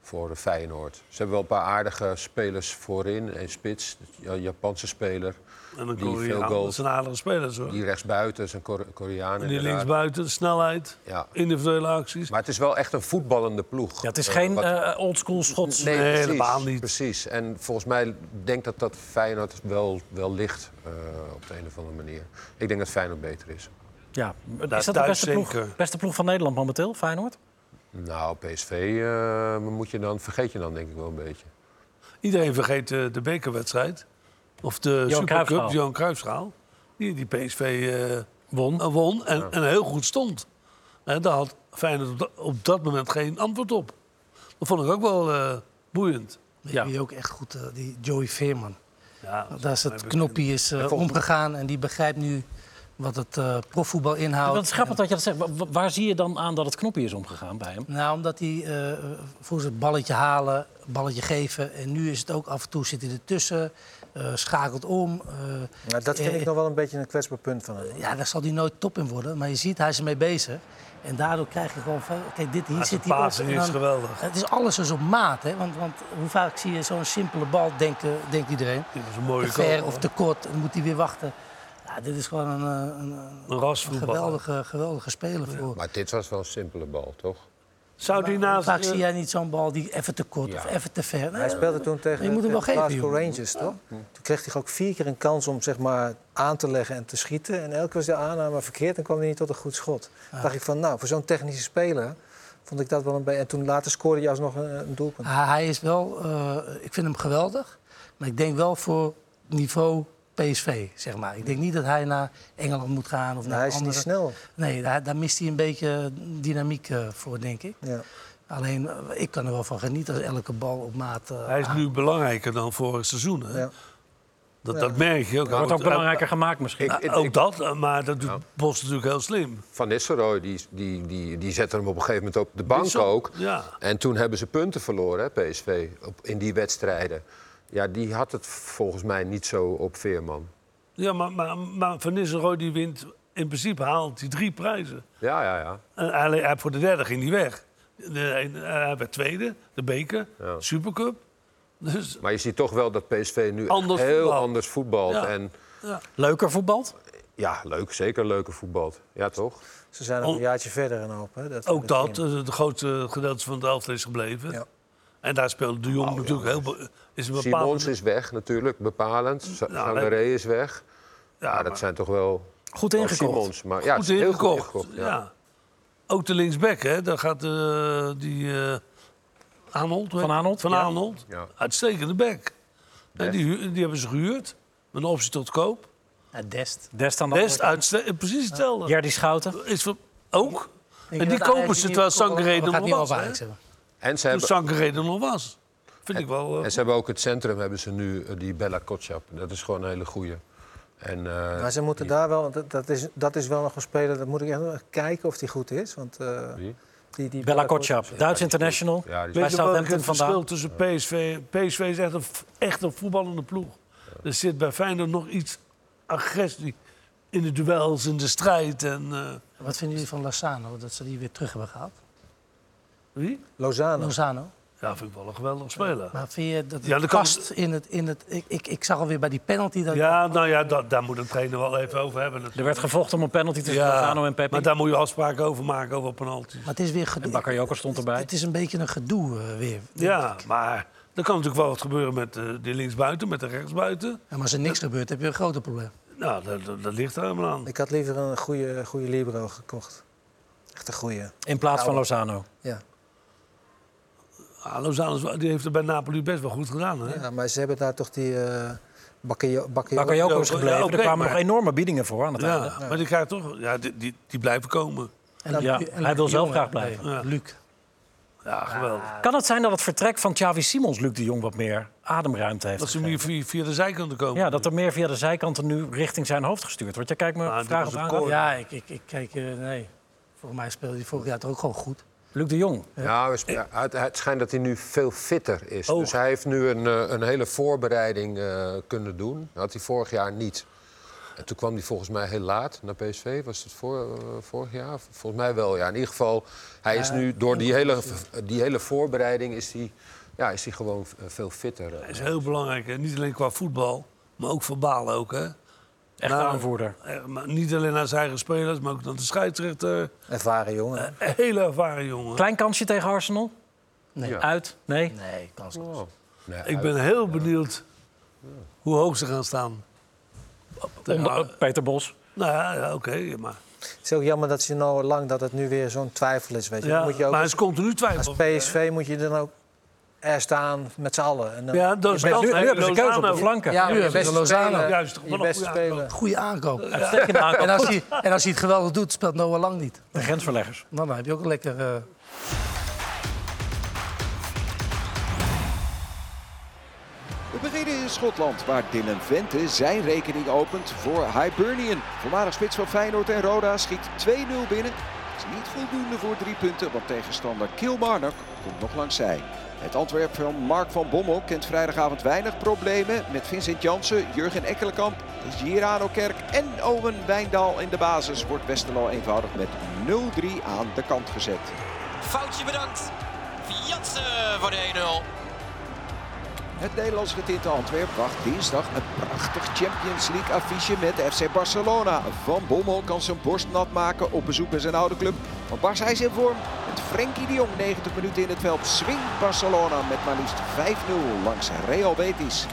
Speaker 6: voor Feyenoord. Ze hebben wel een paar aardige spelers voorin en spits. Een Japanse speler,
Speaker 4: En dan
Speaker 6: Die
Speaker 4: kon
Speaker 6: veel
Speaker 4: je dat
Speaker 6: goals.
Speaker 4: zijn aardige spelers hoor.
Speaker 6: die rechtsbuiten is een Kor- Koreaan.
Speaker 4: En die
Speaker 6: inderdaad.
Speaker 4: linksbuiten, de snelheid,
Speaker 6: Ja.
Speaker 4: individuele acties.
Speaker 6: Maar het is wel echt een voetballende ploeg.
Speaker 1: Ja, het is
Speaker 6: Eh,
Speaker 1: geen
Speaker 6: wat-
Speaker 1: eh, oldschool Schots.
Speaker 4: Nee, helemaal niet.
Speaker 6: Precies. En volgens mij denk dat dat Feyenoord wel, wel ligt eh, op de een of andere manier. Ik denk dat Feyenoord beter is.
Speaker 1: Ja. Is
Speaker 4: thuis
Speaker 1: dat de beste ploeg,
Speaker 4: zeker.
Speaker 1: beste ploeg van Nederland momenteel, Feyenoord?
Speaker 6: Nou, PSV eh, moet je dan, vergeet je dan denk ik wel een beetje.
Speaker 4: Iedereen vergeet eh, de bekerwedstrijd. Of de
Speaker 1: Johan
Speaker 4: Supercup,
Speaker 1: Cruijffschaal.
Speaker 4: Johan Cruijffschaal. Die, die PSV eh, won, eh, won en, en heel goed stond. En daar had Feyenoord op dat, op dat moment geen antwoord op. Dat vond ik ook wel eh, boeiend.
Speaker 1: Ja.
Speaker 4: Die
Speaker 5: ook echt goed, eh, die Joey Veerman. Nou,
Speaker 4: Ja,
Speaker 5: Daar is het knopje is, eh, omgegaan en die begrijpt nu wat het eh, profvoetbal inhoudt.
Speaker 1: Dat is grappig dat je dat zegt. Wa- wa- Waar zie je dan aan dat het knopje is omgegaan bij hem?
Speaker 5: Nou, omdat hij eh vroeger het balletje halen, balletje geven. En nu is het ook af en toe zit hij ertussen, eh, schakelt om. eh,
Speaker 13: Nou, dat vind
Speaker 5: eh,
Speaker 13: ik nog wel een beetje een kwetsbaar punt van hem.
Speaker 5: Ja, daar zal hij nooit top in worden. Maar je ziet, hij is ermee bezig. En daardoor krijg je gewoon veel... Kijk, dit, hier
Speaker 4: Maar
Speaker 5: zit
Speaker 4: zijn
Speaker 5: hij op.
Speaker 4: passing
Speaker 5: en
Speaker 4: is
Speaker 5: dan-
Speaker 4: geweldig.
Speaker 5: Het is alles dus op maat, hè. Want, want hoe vaak zie je zo'n simpele bal, denken, denkt iedereen.
Speaker 4: Dit is een mooie
Speaker 5: te ver
Speaker 4: goal,
Speaker 5: of
Speaker 4: hè?
Speaker 5: te kort, dan moet hij weer wachten. Ja, dit is gewoon een, eh, een, een
Speaker 4: Een rasvoetbal.
Speaker 5: geweldige, geweldige speler voor...
Speaker 6: Maar dit was wel een simpele bal, toch?
Speaker 4: Zou die
Speaker 5: Hoe
Speaker 4: naast...
Speaker 5: Vaak
Speaker 4: eh,
Speaker 5: zie jij niet zo'n bal die even te kort of even te ver. Nee,
Speaker 13: Hij speelde toen tegen
Speaker 5: je moet hem wel
Speaker 13: tegen
Speaker 5: geven,
Speaker 13: Glasgow
Speaker 5: joh.
Speaker 13: Rangers, toch? Toen kreeg hij ook vier keer een kans om zeg maar, aan te leggen en te schieten. En elke keer was de aanname verkeerd en kwam hij niet tot een goed schot.
Speaker 5: Ah.
Speaker 13: Toen dacht ik van, nou, voor zo'n technische speler vond ik dat wel een beetje... En toen later scoorde hij alsnog een, een doelpunt.
Speaker 5: Hij, hij is wel, eh, ik vind hem geweldig, maar ik denk wel voor niveau PSV, zeg maar. Ik denk niet dat hij naar Engeland moet gaan of
Speaker 13: Nou,
Speaker 5: naar
Speaker 13: hij is niet
Speaker 5: andere...
Speaker 13: snel.
Speaker 5: Nee, daar, daar mist hij een beetje dynamiek eh, voor, denk ik.
Speaker 13: Ja.
Speaker 5: Alleen, eh, ik kan er wel van genieten als elke bal op maat... eh,
Speaker 4: Hij is nu belangrijker dan vorig seizoen. Hè?
Speaker 13: Ja.
Speaker 4: Dat,
Speaker 5: Ja.
Speaker 4: dat merk je ook.
Speaker 1: Wordt ook belangrijker gemaakt misschien.
Speaker 4: Nou,
Speaker 6: Ik- ik-
Speaker 4: ook
Speaker 6: ik-
Speaker 4: dat, eh, maar dat doet Bos natuurlijk heel slim.
Speaker 6: Van Nistelrooy, die, die, die, die zette hem op een gegeven moment op de bank
Speaker 4: Wissel,
Speaker 6: ook.
Speaker 4: ja.
Speaker 6: En toen hebben ze punten verloren, hè, PSV, op, in die wedstrijden. Ja, die had het volgens mij niet zo op Veerman.
Speaker 4: Ja, maar, maar, maar Van Nistelrooy die wint... In principe haalt hij drie prijzen.
Speaker 6: Ja, ja, ja.
Speaker 4: En hij, hij- voor de derde ging hij weg. De, hij- hij werd tweede, de beker,
Speaker 6: Ja.
Speaker 4: Supercup. Dus
Speaker 6: Maar je ziet toch wel dat PSV nu echt
Speaker 4: Anders
Speaker 6: heel
Speaker 4: voetbal.
Speaker 6: anders voetbalt.
Speaker 4: Ja.
Speaker 6: En
Speaker 1: Leuker voetbald?
Speaker 6: ja, leuk, zeker leuke voetbalt. Ja, toch?
Speaker 13: Ze zijn nog een jaartje verder en hoop. Hè? we
Speaker 4: Oh. ook
Speaker 13: het
Speaker 4: dat,
Speaker 13: zien.
Speaker 4: eh, het grootste gedeelte van het elftal is gebleven.
Speaker 13: Ja.
Speaker 4: En daar speelde de Jong natuurlijk heel... be- Is een
Speaker 6: Oh, Simons
Speaker 4: bepaalde...
Speaker 6: is weg natuurlijk, bepalend. Sa-
Speaker 4: Nou,
Speaker 6: Sangaré is weg. Ja, dat zijn toch wel...
Speaker 1: Goed
Speaker 6: wel
Speaker 1: ingekocht.
Speaker 6: Oh, Simons, maar ja,
Speaker 4: goed
Speaker 6: het is heel goed
Speaker 4: ingekocht.
Speaker 6: ingekocht.
Speaker 4: ja.
Speaker 6: Ja.
Speaker 4: Ook de linksback, hè? Daar gaat eh, die eh Arnold, hoe heet-
Speaker 1: Van Arnold,
Speaker 4: Van
Speaker 1: ja.
Speaker 4: Arnold.
Speaker 6: Ja.
Speaker 4: Uitstekende back. En die, hu- die hebben ze gehuurd. Met een optie tot koop.
Speaker 5: ja, Dest.
Speaker 1: Dest aan de
Speaker 4: Best
Speaker 1: andere
Speaker 4: uitste- precies hetzelfde.
Speaker 1: kant. Jerdy Schouten.
Speaker 4: Is voor, ook.
Speaker 5: Denk je
Speaker 4: en die
Speaker 5: dat
Speaker 4: kopen
Speaker 5: Ajax
Speaker 4: ze
Speaker 5: die
Speaker 4: terwijl
Speaker 5: niet op-
Speaker 4: Sankeré
Speaker 5: dat gaat
Speaker 4: er
Speaker 5: niet
Speaker 4: nog
Speaker 5: over
Speaker 4: was.
Speaker 5: Ajax
Speaker 4: hè?
Speaker 5: hebben.
Speaker 6: En ze
Speaker 4: Toen
Speaker 6: hebben...
Speaker 4: Sankeré er nog was. Vind ik wel... eh,
Speaker 6: En ze hebben ook het centrum, hebben ze nu eh, die Bella Kotschap. Dat is gewoon een hele goeie. En, eh,
Speaker 13: Maar ze moeten daar wel, dat, dat, is, dat is wel nog een speler, dat moet ik echt nog kijken of die goed is. Want, eh,
Speaker 6: Wie?
Speaker 13: Die, die
Speaker 1: Bella Kotschap, Duits international.
Speaker 6: Ja, die is-
Speaker 1: bij
Speaker 4: Weet je wat ik
Speaker 1: Southampton
Speaker 4: het verschil
Speaker 1: vandaan.
Speaker 4: tussen PSV... PSV is echt een, v- echt een voetballende ploeg. Er zit bij Feyenoord nog iets agressie in de duels, in de strijd. En, eh,
Speaker 5: Wat vinden jullie van Lozano, dat ze die weer terug hebben gehaald?
Speaker 4: wie?
Speaker 13: Lozano.
Speaker 5: Lozano.
Speaker 4: Ja, vind ik wel een geweldig speler.
Speaker 5: Maar vind je dat het
Speaker 4: Ja, dat kan-
Speaker 5: past in het... In het ik, ik, ik zag alweer bij die penalty dat...
Speaker 4: Ja, nou ja, dat, daar moet een trainer wel even over hebben.
Speaker 1: Er
Speaker 4: natuurlijk.
Speaker 1: werd gevochten om een penalty tussen
Speaker 4: Ja,
Speaker 1: Lozano en Peppi.
Speaker 4: Maar daar moet je afspraken over maken, over penalties.
Speaker 5: Maar het is weer
Speaker 1: En
Speaker 5: gedoe.
Speaker 1: Bakayoko stond erbij.
Speaker 5: Het is een beetje een gedoe eh, weer.
Speaker 4: Ja, maar er kan natuurlijk wel wat gebeuren met eh, die linksbuiten, met de rechtsbuiten.
Speaker 5: Ja, maar als er niks gebeurt, heb je een groter probleem.
Speaker 4: Nou, dat, dat, dat ligt er helemaal aan.
Speaker 13: Ik had liever een goede, goede libero gekocht. Echt een goede.
Speaker 1: In plaats van Lozano.
Speaker 13: Ja.
Speaker 4: Ah, Lozano is wel- die heeft het bij Napoli best wel goed gedaan. Hè?
Speaker 13: ja, maar ze hebben daar toch die eh Bakayo- Bakayo-
Speaker 1: Bakayoko is
Speaker 4: Ja,
Speaker 1: gebleven.
Speaker 4: oké,
Speaker 1: er kwamen
Speaker 4: maar-
Speaker 1: nog enorme biedingen voor aan het
Speaker 4: Ja,
Speaker 1: einde.
Speaker 4: maar die krijgt toch... Ja, die, die, die blijven komen.
Speaker 5: En
Speaker 1: Ja,
Speaker 5: en
Speaker 1: hij wil zelf
Speaker 5: jongen,
Speaker 1: graag blijven.
Speaker 5: nee,
Speaker 4: Ja.
Speaker 5: Luc.
Speaker 4: Ja, geweldig.
Speaker 1: Kan het zijn dat het vertrek van Xavi Simons Luc de Jong wat meer ademruimte heeft?
Speaker 4: Dat ze
Speaker 1: gegeven?
Speaker 4: meer via, via de zijkanten komen.
Speaker 1: Ja, dat er meer via de zijkanten nu richting zijn hoofd gestuurd wordt. Je kijkt me
Speaker 4: Nou,
Speaker 1: vragen
Speaker 4: dit was
Speaker 1: vragend
Speaker 4: een
Speaker 1: aan.
Speaker 4: koor.
Speaker 5: Ja, ik, ik, ik kijk, eh, nee. Volgens mij speelde hij vorig jaar toch ook gewoon goed.
Speaker 1: Luc de Jong.
Speaker 6: ja, we sp- het, het schijnt dat hij nu veel fitter is.
Speaker 4: Oh.
Speaker 6: Dus hij heeft nu een, eh, een hele voorbereiding eh, kunnen doen. Dat had hij vorig jaar niet. En toen kwam hij volgens mij heel laat naar PSV. Was het voor, eh, vorig jaar? Volgens mij wel, ja. In ieder geval, hij is nu door die hele, die hele voorbereiding... is hij, ja, is hij gewoon eh, veel fitter. eh.
Speaker 4: Dat is heel belangrijk. Hè? Niet alleen qua voetbal, maar ook verbaal ook. Hè?
Speaker 1: Echt
Speaker 4: Nou,
Speaker 1: aanvoerder.
Speaker 4: eh, maar niet alleen naar zijn eigen spelers, maar ook naar de scheidsrechter.
Speaker 13: ervaren jongen.
Speaker 4: Een hele ervaren jongen.
Speaker 1: Klein kansje tegen Arsenal?
Speaker 5: Nee.
Speaker 1: Uit? Nee?
Speaker 5: Nee, kansloos.
Speaker 6: Nee,
Speaker 4: Ik ben heel benieuwd hoe hoog ze gaan staan.
Speaker 1: Onder- Peter Bos.
Speaker 4: Nou ja, ja, oké. maar
Speaker 13: Het is ook jammer dat ze nou lang dat het nu weer zo'n twijfel is. Weet je.
Speaker 4: ja,
Speaker 13: moet je ook,
Speaker 4: maar het is continu
Speaker 13: als
Speaker 4: twijfel.
Speaker 13: PSV moet je dan ook er staan met z'n allen. En dan-
Speaker 4: Ja, dat is
Speaker 13: Je bent
Speaker 4: altijd-
Speaker 13: nu- nu hebben ze
Speaker 4: Lozano.
Speaker 13: keuze op de flanken.
Speaker 4: Ja,
Speaker 13: Nu
Speaker 4: nu
Speaker 13: hebben
Speaker 4: hebben
Speaker 13: ze
Speaker 4: ze
Speaker 13: Lozano.
Speaker 4: Lozano.
Speaker 13: Juist,
Speaker 4: Juist,
Speaker 13: je beste speler.
Speaker 5: Goede aankoop.
Speaker 1: Uitstekende aankoop.
Speaker 5: En als,
Speaker 1: Goed.
Speaker 5: hij, en als hij het geweldig doet, speelt Noah Lang niet.
Speaker 1: De grensverleggers.
Speaker 5: Nou, dan heb je ook een lekker... eh,
Speaker 8: We beginnen in Schotland, waar Dylan Vente zijn rekening opent voor Hibernian. Voormalig spits van Feyenoord en Roda schiet 2-0 binnen. Is niet voldoende voor drie punten, want tegenstander Kilmarnock komt nog langs zij. Het Antwerp van Mark van Bommel kent vrijdagavond weinig problemen met Vincent Jansen, Jurgen Ekkelenkamp, Girano Kerk en Owen Wijndal in de basis. Wordt Westerlo eenvoudig met 0-3 aan de kant gezet.
Speaker 14: Foutje bedankt. Jansen voor de 1-0.
Speaker 8: Het Nederlands getinte Antwerp bracht dinsdag een prachtig Champions League affiche met FC Barcelona. Van Bommel kan zijn borst nat maken op bezoek bij zijn oude club. Maar Bars hij is in vorm. Met Frenkie de Jong 90 minuten in het veld swingt Barcelona met maar liefst 5-0 langs Real Betis.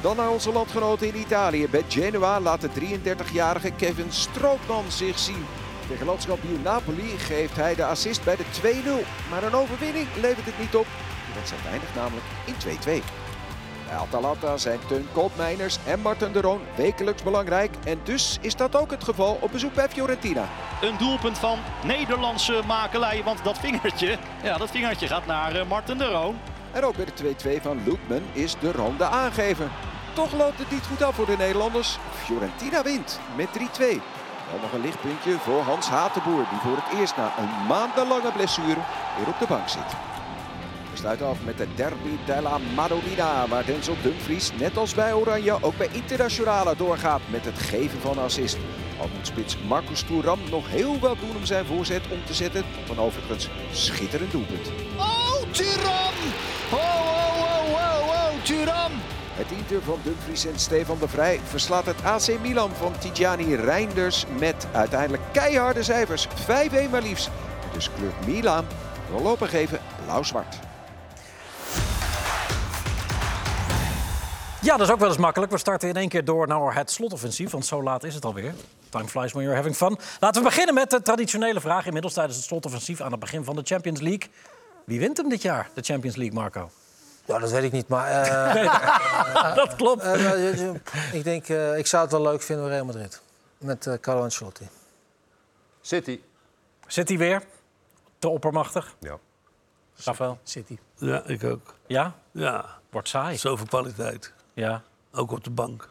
Speaker 8: Dan naar onze landgenoten in Italië. Bij Genoa laat de 33-jarige Kevin Strootman zich zien. Tegen landskampioen Napoli geeft hij de assist bij de 2-0. Maar een overwinning levert het niet op. De wedstrijd eindigt namelijk in 2-2. Bij Atalanta zijn Teun Koopmeiners en Marten de Roon wekelijks belangrijk. En dus is dat ook het geval op bezoek bij Fiorentina.
Speaker 15: Een doelpunt van Nederlandse makelij, want dat vingertje, ja, dat vingertje gaat naar eh, Marten de Roon.
Speaker 8: En ook bij de 2-2 van Loekman is de Roon de aangever. Toch loopt het niet goed af voor de Nederlanders. Fiorentina wint met 3-2. Wel nog een lichtpuntje voor Hans Hatenboer, die voor het eerst na een maandenlange blessure weer op de bank zit. We sluiten af met de derby della Madonnina, waar Denzel Dumfries, net als bij Oranje, ook bij Internationale doorgaat met het geven van een assist. Al moet spits Marcus Thuram nog heel wat doen om zijn voorzet om te zetten, van overigens schitterend doelpunt.
Speaker 15: Oh, Turam! Oh, oh, oh, oh, oh, Turam!
Speaker 8: Het Inter van Dumfries en Stefan de Vrij verslaat het AC Milan van Tijani Reinders met uiteindelijk keiharde cijfers. 5-1 maar liefst. Dus kleurt Milan voorlopig even blauw-zwart.
Speaker 1: Ja, dat is ook wel eens makkelijk. We starten in één keer door naar het slotoffensief, want zo laat is het alweer. Time flies when you're having fun. Laten we beginnen met de traditionele vraag inmiddels tijdens het slotoffensief aan het begin van de Champions League. Wie wint hem dit jaar, de Champions League, Marco?
Speaker 13: Ja, dat weet ik niet, maar... eh,
Speaker 1: dat klopt.
Speaker 13: ik denk, eh, ik zou het wel leuk vinden voor Real Madrid. Met eh, Carlo Ancelotti.
Speaker 1: City. City weer? Te oppermachtig?
Speaker 6: Ja.
Speaker 1: Rafael? City.
Speaker 4: Ja, ik ook.
Speaker 1: Ja?
Speaker 4: Ja.
Speaker 1: Wordt saai.
Speaker 4: Zoveel kwaliteit.
Speaker 1: Ja.
Speaker 4: Ook op de bank.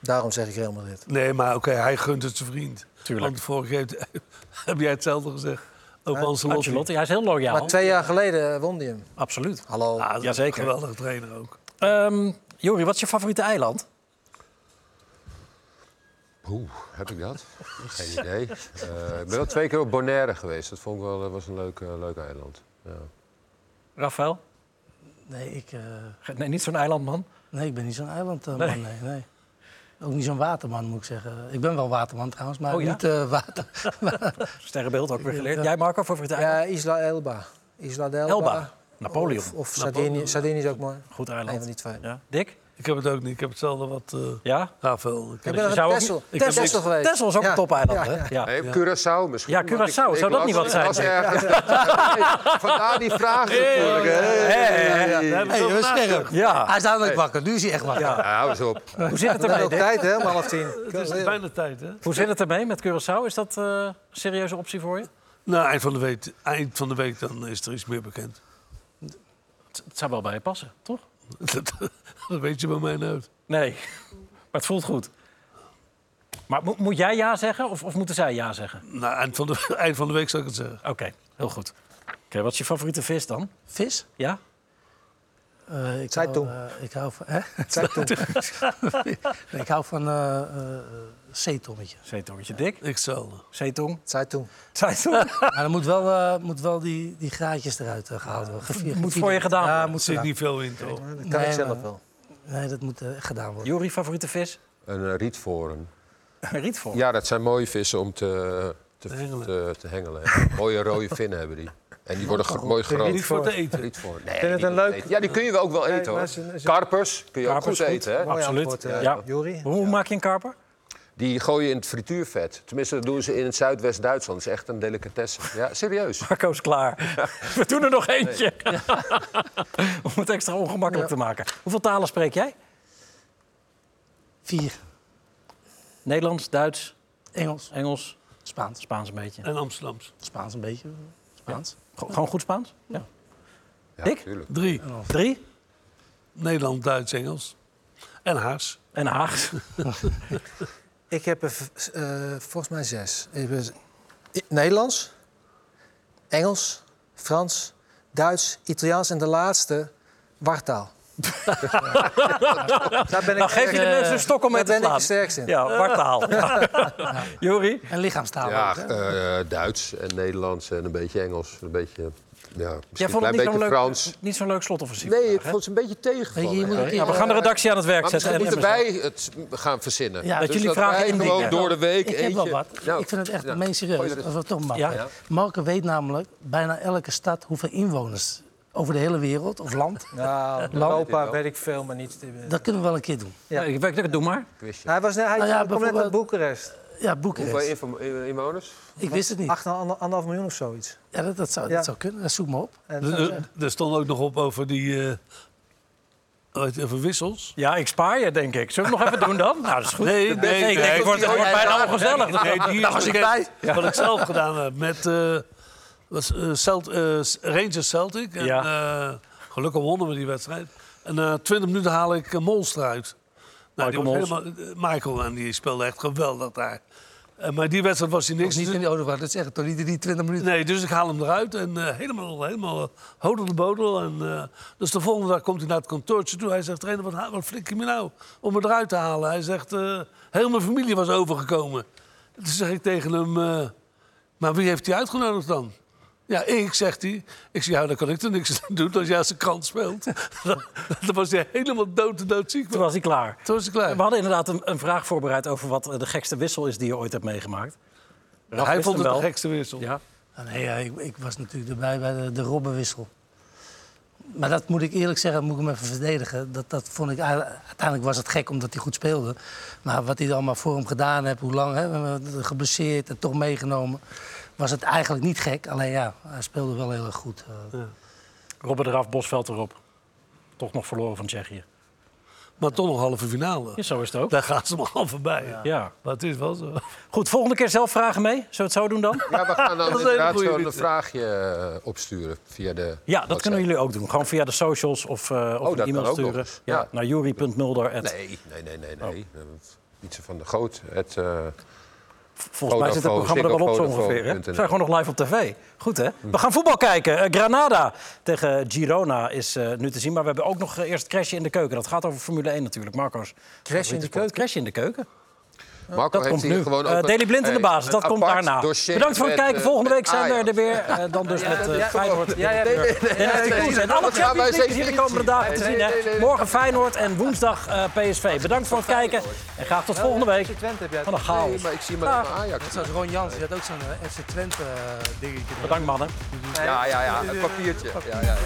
Speaker 13: Daarom zeg ik Real Madrid.
Speaker 4: Nee, maar oké, hij gunt het zijn vriend.
Speaker 13: Tuurlijk.
Speaker 4: Want vorige keer heeft- heb jij hetzelfde gezegd. Over
Speaker 13: Ja,
Speaker 4: Ancelotti.
Speaker 13: Ancelotti,
Speaker 1: hij is heel loyaal.
Speaker 13: Maar twee jaar geleden won die hem.
Speaker 1: Absoluut.
Speaker 13: Hallo.
Speaker 4: Ah, dat is een
Speaker 1: Jazeker.
Speaker 4: geweldige trainer ook.
Speaker 1: Ehm Jori, wat is je favoriete eiland?
Speaker 6: Oeh, heb ik dat? Geen idee. Eh, ik ben wel twee keer op Bonaire geweest. Dat vond ik wel dat was een leuk, eh, leuk eiland. Ja.
Speaker 1: Rafael?
Speaker 5: nee, ik, eh,
Speaker 1: Nee, niet zo'n eilandman?
Speaker 5: nee, ik ben niet zo'n eilandman.
Speaker 1: Nee.
Speaker 5: Nee. Nee, Ook niet zo'n waterman, moet ik zeggen. Ik ben wel waterman trouwens, maar
Speaker 1: Oh, ja?
Speaker 5: niet eh, water.
Speaker 1: Sterrenbeeld ook weer geleerd. Jij, Marco, favoriete eiland?
Speaker 13: Ja, Isla Elba. Isla d'Elba.
Speaker 1: Elba. Napoleon.
Speaker 13: Of, of
Speaker 1: Napoleon.
Speaker 13: Sardinië. Sardinië is ook mooi.
Speaker 1: Goed eiland.
Speaker 13: Een van die twee.
Speaker 1: Ja. Dick?
Speaker 4: Ik heb het ook niet. Ik heb hetzelfde wat eh
Speaker 1: ja?
Speaker 4: Rafael. Ik
Speaker 13: ben
Speaker 4: heb
Speaker 13: nog
Speaker 4: zou
Speaker 13: op
Speaker 4: ook
Speaker 13: Texel.
Speaker 4: niet- ik heb
Speaker 13: Texel
Speaker 4: niks-
Speaker 13: geweest.
Speaker 1: Texel is ook
Speaker 13: Ja.
Speaker 1: een topeiland, hè?
Speaker 13: Ja.
Speaker 1: Ah, Ja.
Speaker 6: Nee, Curaçao misschien.
Speaker 1: Ja,
Speaker 6: want ik-
Speaker 1: Curaçao.
Speaker 6: ik
Speaker 1: Zou dat
Speaker 6: las-
Speaker 1: niet wat
Speaker 6: ik
Speaker 1: zijn?
Speaker 6: las ergens dat- Vandaar die vraag natuurlijk. hè.
Speaker 5: Hey, we scherp.
Speaker 1: Ja.
Speaker 5: Hij is namelijk
Speaker 6: Hey.
Speaker 5: wakker, nu is hij echt wakker.
Speaker 6: Ja, hou eens op.
Speaker 1: Hoe zit het
Speaker 13: We hebben
Speaker 1: erbij,
Speaker 13: ook
Speaker 1: Dick?
Speaker 13: tijd, hè, om half tien.
Speaker 4: Het is bijna tijd, hè?
Speaker 1: Hoe zit het ermee met Curaçao? Is dat eh, een serieuze optie voor je?
Speaker 4: Nou, eind van, de week, eind van de week dan is er iets meer bekend.
Speaker 1: Het, het zou wel bij je passen, toch?
Speaker 4: dat, dat weet je bij mij nooit.
Speaker 1: Nee, maar het voelt goed. Maar moet, moet jij ja zeggen of, of moeten zij ja zeggen?
Speaker 4: Nou, eind van, de, eind van de week zou ik het zeggen.
Speaker 1: Oké, heel goed. Oké, wat is je favoriete vis dan?
Speaker 5: Vis?
Speaker 1: Ja?
Speaker 5: Eh, ik, hou,
Speaker 1: Zeitung.
Speaker 5: eh, ik hou van... Hè?
Speaker 1: Zeitung.
Speaker 5: nee, ik hou van eh, eh, zeetongetje.
Speaker 1: Zeetongetje dik?
Speaker 4: Ik zal.
Speaker 1: Zeetong?
Speaker 13: Zeitung.
Speaker 1: Zeitung?
Speaker 5: Maar dan moet wel, eh, moet wel die, die graadjes eruit eh, gehaald worden. Gevierd-
Speaker 1: Moet
Speaker 5: gevierd-
Speaker 1: voor je gedaan
Speaker 5: Ja,
Speaker 1: worden.
Speaker 5: moet
Speaker 1: Zit
Speaker 5: gedaan.
Speaker 4: niet veel in, toch?
Speaker 13: Dat kan ik zelf wel.
Speaker 5: Nee, dat moet eh, gedaan worden.
Speaker 1: Jori, favoriete vis?
Speaker 6: Een eh, rietvoren.
Speaker 1: Een rietvorm.
Speaker 6: Ja, dat zijn mooie vissen om te, te, te
Speaker 4: hengelen.
Speaker 6: Te, hengelen. hè. Mooie rode vinnen hebben die. En die worden gro- mooi
Speaker 4: Kun je
Speaker 6: groot.
Speaker 4: niet voor te eten?
Speaker 6: Rietvoorn. Nee,
Speaker 13: Ik vind het
Speaker 6: niet
Speaker 13: een
Speaker 6: te
Speaker 13: leuk-
Speaker 6: eten. Ja, die kun je wel ook wel
Speaker 13: Nee,
Speaker 6: eten,
Speaker 13: maar
Speaker 6: hoor.
Speaker 13: is een- is een-
Speaker 6: Karpers kun je
Speaker 1: Karpers
Speaker 6: ook
Speaker 1: goed.
Speaker 6: goed eten, hè?
Speaker 1: Absoluut.
Speaker 13: antwoord, eh,
Speaker 1: ja.
Speaker 13: Jori.
Speaker 1: Hoe hoe maak je een karper?
Speaker 6: Die gooien in het frituurvet. Tenminste, dat doen ze in het Zuidwest-Duitsland. Dat is echt een delicatesse. Ja, serieus.
Speaker 1: Marco is klaar. We doen er nog eentje. Om het extra ongemakkelijk
Speaker 6: Ja.
Speaker 1: te maken. Hoeveel talen spreek jij?
Speaker 5: Vier.
Speaker 1: Nederlands, Duits,
Speaker 5: Engels,
Speaker 1: Engels,
Speaker 5: Spaans.
Speaker 1: Spaans een beetje.
Speaker 4: En Amsterdams.
Speaker 5: Spaans een beetje. Spaans.
Speaker 1: Go- Gewoon goed Spaans? Ja. Dick?
Speaker 4: Drie.
Speaker 1: Drie?
Speaker 4: Nederland, Duits, Engels. En Haars.
Speaker 1: En Haags.
Speaker 13: Ik heb er v- eh, volgens mij zes. Ik heb, I- Nederlands, Engels, Frans, Duits, Italiaans en de laatste, wartaal. Daar ben ik
Speaker 1: nou, geef je de
Speaker 13: erg-
Speaker 1: mensen een stok om mee
Speaker 13: daar ben
Speaker 1: te
Speaker 13: ik
Speaker 1: slaan.
Speaker 13: het sterkst in.
Speaker 1: Ja, wartaal. Ja. Jori?
Speaker 5: En lichaamstaal
Speaker 6: Ja,
Speaker 5: ook, hè?
Speaker 6: eh, Duits en Nederlands en een beetje Engels. Een beetje, ja,
Speaker 1: Jij
Speaker 6: misschien een
Speaker 1: vond het
Speaker 6: klein
Speaker 1: niet
Speaker 6: beetje
Speaker 1: zo'n leuk,
Speaker 6: Frans.
Speaker 1: niet zo'n leuk slotoffensief.
Speaker 6: Nee, ik vond het een beetje tegen.
Speaker 1: Weet je, je moet ook- Ja, we gaan de redactie aan het werk
Speaker 6: maar
Speaker 1: zetten
Speaker 6: misschien
Speaker 1: en-
Speaker 6: moeten wij het gaan verzinnen.
Speaker 5: Ja,
Speaker 6: Dus wij
Speaker 5: indienen.
Speaker 6: gewoon door de week
Speaker 5: Ik heb wel
Speaker 6: eentje-
Speaker 5: wat.
Speaker 6: Nou,
Speaker 5: ik vind het echt
Speaker 6: ja.
Speaker 5: meen
Speaker 6: Gooi
Speaker 5: serieus.
Speaker 6: er eens-
Speaker 5: Als we het toch mag.
Speaker 6: Ja. Ja.
Speaker 5: Marco weet namelijk bijna elke stad hoeveel inwoners over de hele wereld of land.
Speaker 13: Nou,
Speaker 5: Lang-
Speaker 13: Europa weet ik veel, maar niet...
Speaker 5: Dat kunnen we wel een keer doen.
Speaker 1: Ja. Ik werk, doe maar.
Speaker 13: Hij, was, net- hij
Speaker 5: Nou
Speaker 13: komt net
Speaker 5: ja,
Speaker 13: uit
Speaker 5: bijvoorbeeld-
Speaker 13: Boekarest.
Speaker 5: Ja,
Speaker 6: Hoeveel
Speaker 5: Boekarest.
Speaker 6: info- in- Ah. inwoners?
Speaker 5: Ik wist het niet.
Speaker 13: 8,5 miljoen of zoiets.
Speaker 5: Ja, dat, dat, zou,
Speaker 13: Ja.
Speaker 5: dat zou kunnen. Dat zoek me op.
Speaker 4: Er- Er er stond ook nog op over die... eh over wissels.
Speaker 1: Ja, ik spaar je, denk ik. Zullen we het nog even doen dan? Nou, dat is goed.
Speaker 4: Nee,
Speaker 1: Ik
Speaker 4: nee, nee.
Speaker 1: denk, Het wordt, het
Speaker 6: Oh,
Speaker 1: wordt bijna ongezellig.
Speaker 4: Nee, die
Speaker 1: Daar was ik bij. Ja.
Speaker 4: Wat ik zelf gedaan heb met eh, was, eh, Celt, eh, Rangers Celtic. En, eh, gelukkig wonnen we die wedstrijd. En na 20 minuten haal ik eh, Molstra uit. Nou, die
Speaker 1: Michael
Speaker 4: was
Speaker 1: Mols.
Speaker 4: helemaal- eh, Michael, en die speelde echt geweldig daar. Eh, maar die wedstrijd was hij niks.
Speaker 5: niet in de oude dat zeggen, toch niet in die 20 minuten.
Speaker 4: Nee, dus ik haal hem eruit en eh, helemaal, helemaal eh, hodel de bodel. En, eh, dus de volgende dag komt hij naar het kantoortje toe. Hij zegt, trainer, wat, ha- wat flik je me nou om me eruit te halen? Hij zegt, eh heel mijn familie was overgekomen. Toen zeg ik tegen hem, eh, maar wie heeft hij uitgenodigd dan? Ja, ik, zegt hij. Ik zeg, ja, dan kan ik er niks aan doen als jij als een krant speelt. dan was hij helemaal dood en doodziek.
Speaker 1: Toen was hij klaar.
Speaker 4: Toen was hij klaar.
Speaker 1: We hadden inderdaad een, een vraag voorbereid over wat eh, de gekste wissel is die je ooit hebt meegemaakt. Raf
Speaker 4: hij
Speaker 1: wist
Speaker 4: vond
Speaker 1: hem
Speaker 4: het de
Speaker 1: wel.
Speaker 4: gekste wissel.
Speaker 1: Ja.
Speaker 5: Ah, nee, ja, ik, ik was natuurlijk erbij bij de, de Robbenwissel. Maar dat moet ik eerlijk zeggen, moet ik hem even verdedigen. Dat, dat vond ik, eigenlijk- uiteindelijk was het gek omdat hij goed speelde. Maar wat hij er allemaal voor hem gedaan heeft, hoe lang, hè, we hebben hem geblesseerd en toch meegenomen. Was het eigenlijk niet gek, alleen ja, hij speelde wel heel erg goed. Eh,
Speaker 1: Robben eraf, Bosveld erop. Toch nog verloren van Tsjechië.
Speaker 4: Maar toch nog halve finale.
Speaker 1: Ja, zo is het ook.
Speaker 4: Daar gaan ze me al voorbij.
Speaker 1: Ja.
Speaker 4: Maar het is wel zo.
Speaker 1: Goed, volgende keer zelf vragen mee. Zullen we het zo doen dan?
Speaker 6: Ja, we gaan
Speaker 4: Dat
Speaker 6: dan
Speaker 4: is een
Speaker 6: inderdaad
Speaker 4: goeie
Speaker 6: zo'n
Speaker 4: dit.
Speaker 6: vraagje eh, opsturen via de...
Speaker 1: Ja, dat kunnen jullie ook doen. Gewoon via de socials of, eh, of
Speaker 6: dat
Speaker 1: een
Speaker 6: kan
Speaker 1: e-mail
Speaker 6: ook nog
Speaker 1: sturen.
Speaker 6: eens.
Speaker 1: Ja.
Speaker 6: Ja.
Speaker 1: Naar jury.mulder.
Speaker 6: Nee, nee, nee, nee, nee. Eh, Ietse van de Goot, het... eh,
Speaker 1: Volgens mij zit het
Speaker 6: Vodafone,
Speaker 1: programma er wel op zo
Speaker 6: Ziggo,
Speaker 1: ongeveer. Hè?
Speaker 6: Vodafone.nl.
Speaker 1: We zijn gewoon nog live op tv. Goed, hè? We gaan voetbal kijken. Eh, Granada tegen Girona is eh, nu te zien. Maar we hebben ook nog eh, eerst Crashje in de Keuken. Dat gaat over Formule 1 natuurlijk. Marco's. favoriete
Speaker 13: in de
Speaker 1: sport. Crashje in de Keuken.
Speaker 6: Marco
Speaker 1: dat
Speaker 6: heeft
Speaker 1: komt
Speaker 6: hier
Speaker 1: nu.
Speaker 6: gewoon
Speaker 1: Gewoon
Speaker 6: ook een-
Speaker 1: Daily Blind in de
Speaker 6: hey,
Speaker 1: basis, dat
Speaker 6: een
Speaker 1: komt
Speaker 6: apart
Speaker 1: daarna.
Speaker 6: dossier
Speaker 1: Bedankt voor het
Speaker 6: met,
Speaker 1: kijken.
Speaker 6: eh,
Speaker 1: Volgende week
Speaker 6: met
Speaker 1: zijn we er
Speaker 6: Ajax.
Speaker 1: weer. eh, dan dus met eh,
Speaker 13: ja,
Speaker 1: Feyenoord.
Speaker 13: ja, ja,
Speaker 1: en
Speaker 13: nee, nee, nee,
Speaker 1: FC
Speaker 13: nee,
Speaker 1: Koes.
Speaker 13: nee,
Speaker 1: En alle
Speaker 6: dat gaan wij
Speaker 1: Champions League
Speaker 6: zeker
Speaker 1: hier de
Speaker 6: niet
Speaker 1: komende dagen te
Speaker 6: zien.
Speaker 1: zien.
Speaker 6: Nee, nee, nee,
Speaker 1: hè?
Speaker 6: nee.
Speaker 1: Morgen Feyenoord en woensdag eh, PSV. Bedankt voor het kijken. En graag tot volgende week.
Speaker 13: Twente heb jij
Speaker 1: Van een chaos.
Speaker 6: Nee, maar ik zie maar
Speaker 1: Ah.
Speaker 6: even Ajax.
Speaker 5: Net zoals Ron Jans, die had ook zo'n eh, FC Twente eh, dingetje.
Speaker 1: Bedankt mannen.
Speaker 6: Ja, ja, ja, het papiertje. Ja, ja, ja.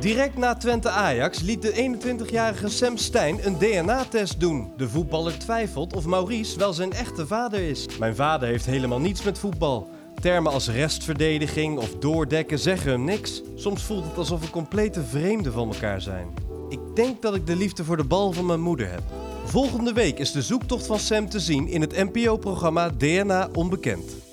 Speaker 16: Direct na Twente Ajax liet de 21-jarige Sam Stein een DNA-test doen. De voetballer twijfelt of Maurice wel zijn echte vader is. Mijn vader heeft helemaal niets met voetbal. Termen als restverdediging of doordekken zeggen hem niks. Soms voelt het alsof we complete vreemden van elkaar zijn. Ik denk dat ik de liefde voor de bal van mijn moeder heb. Volgende week is de zoektocht van Sam te zien in het NPO-programma DNA Onbekend.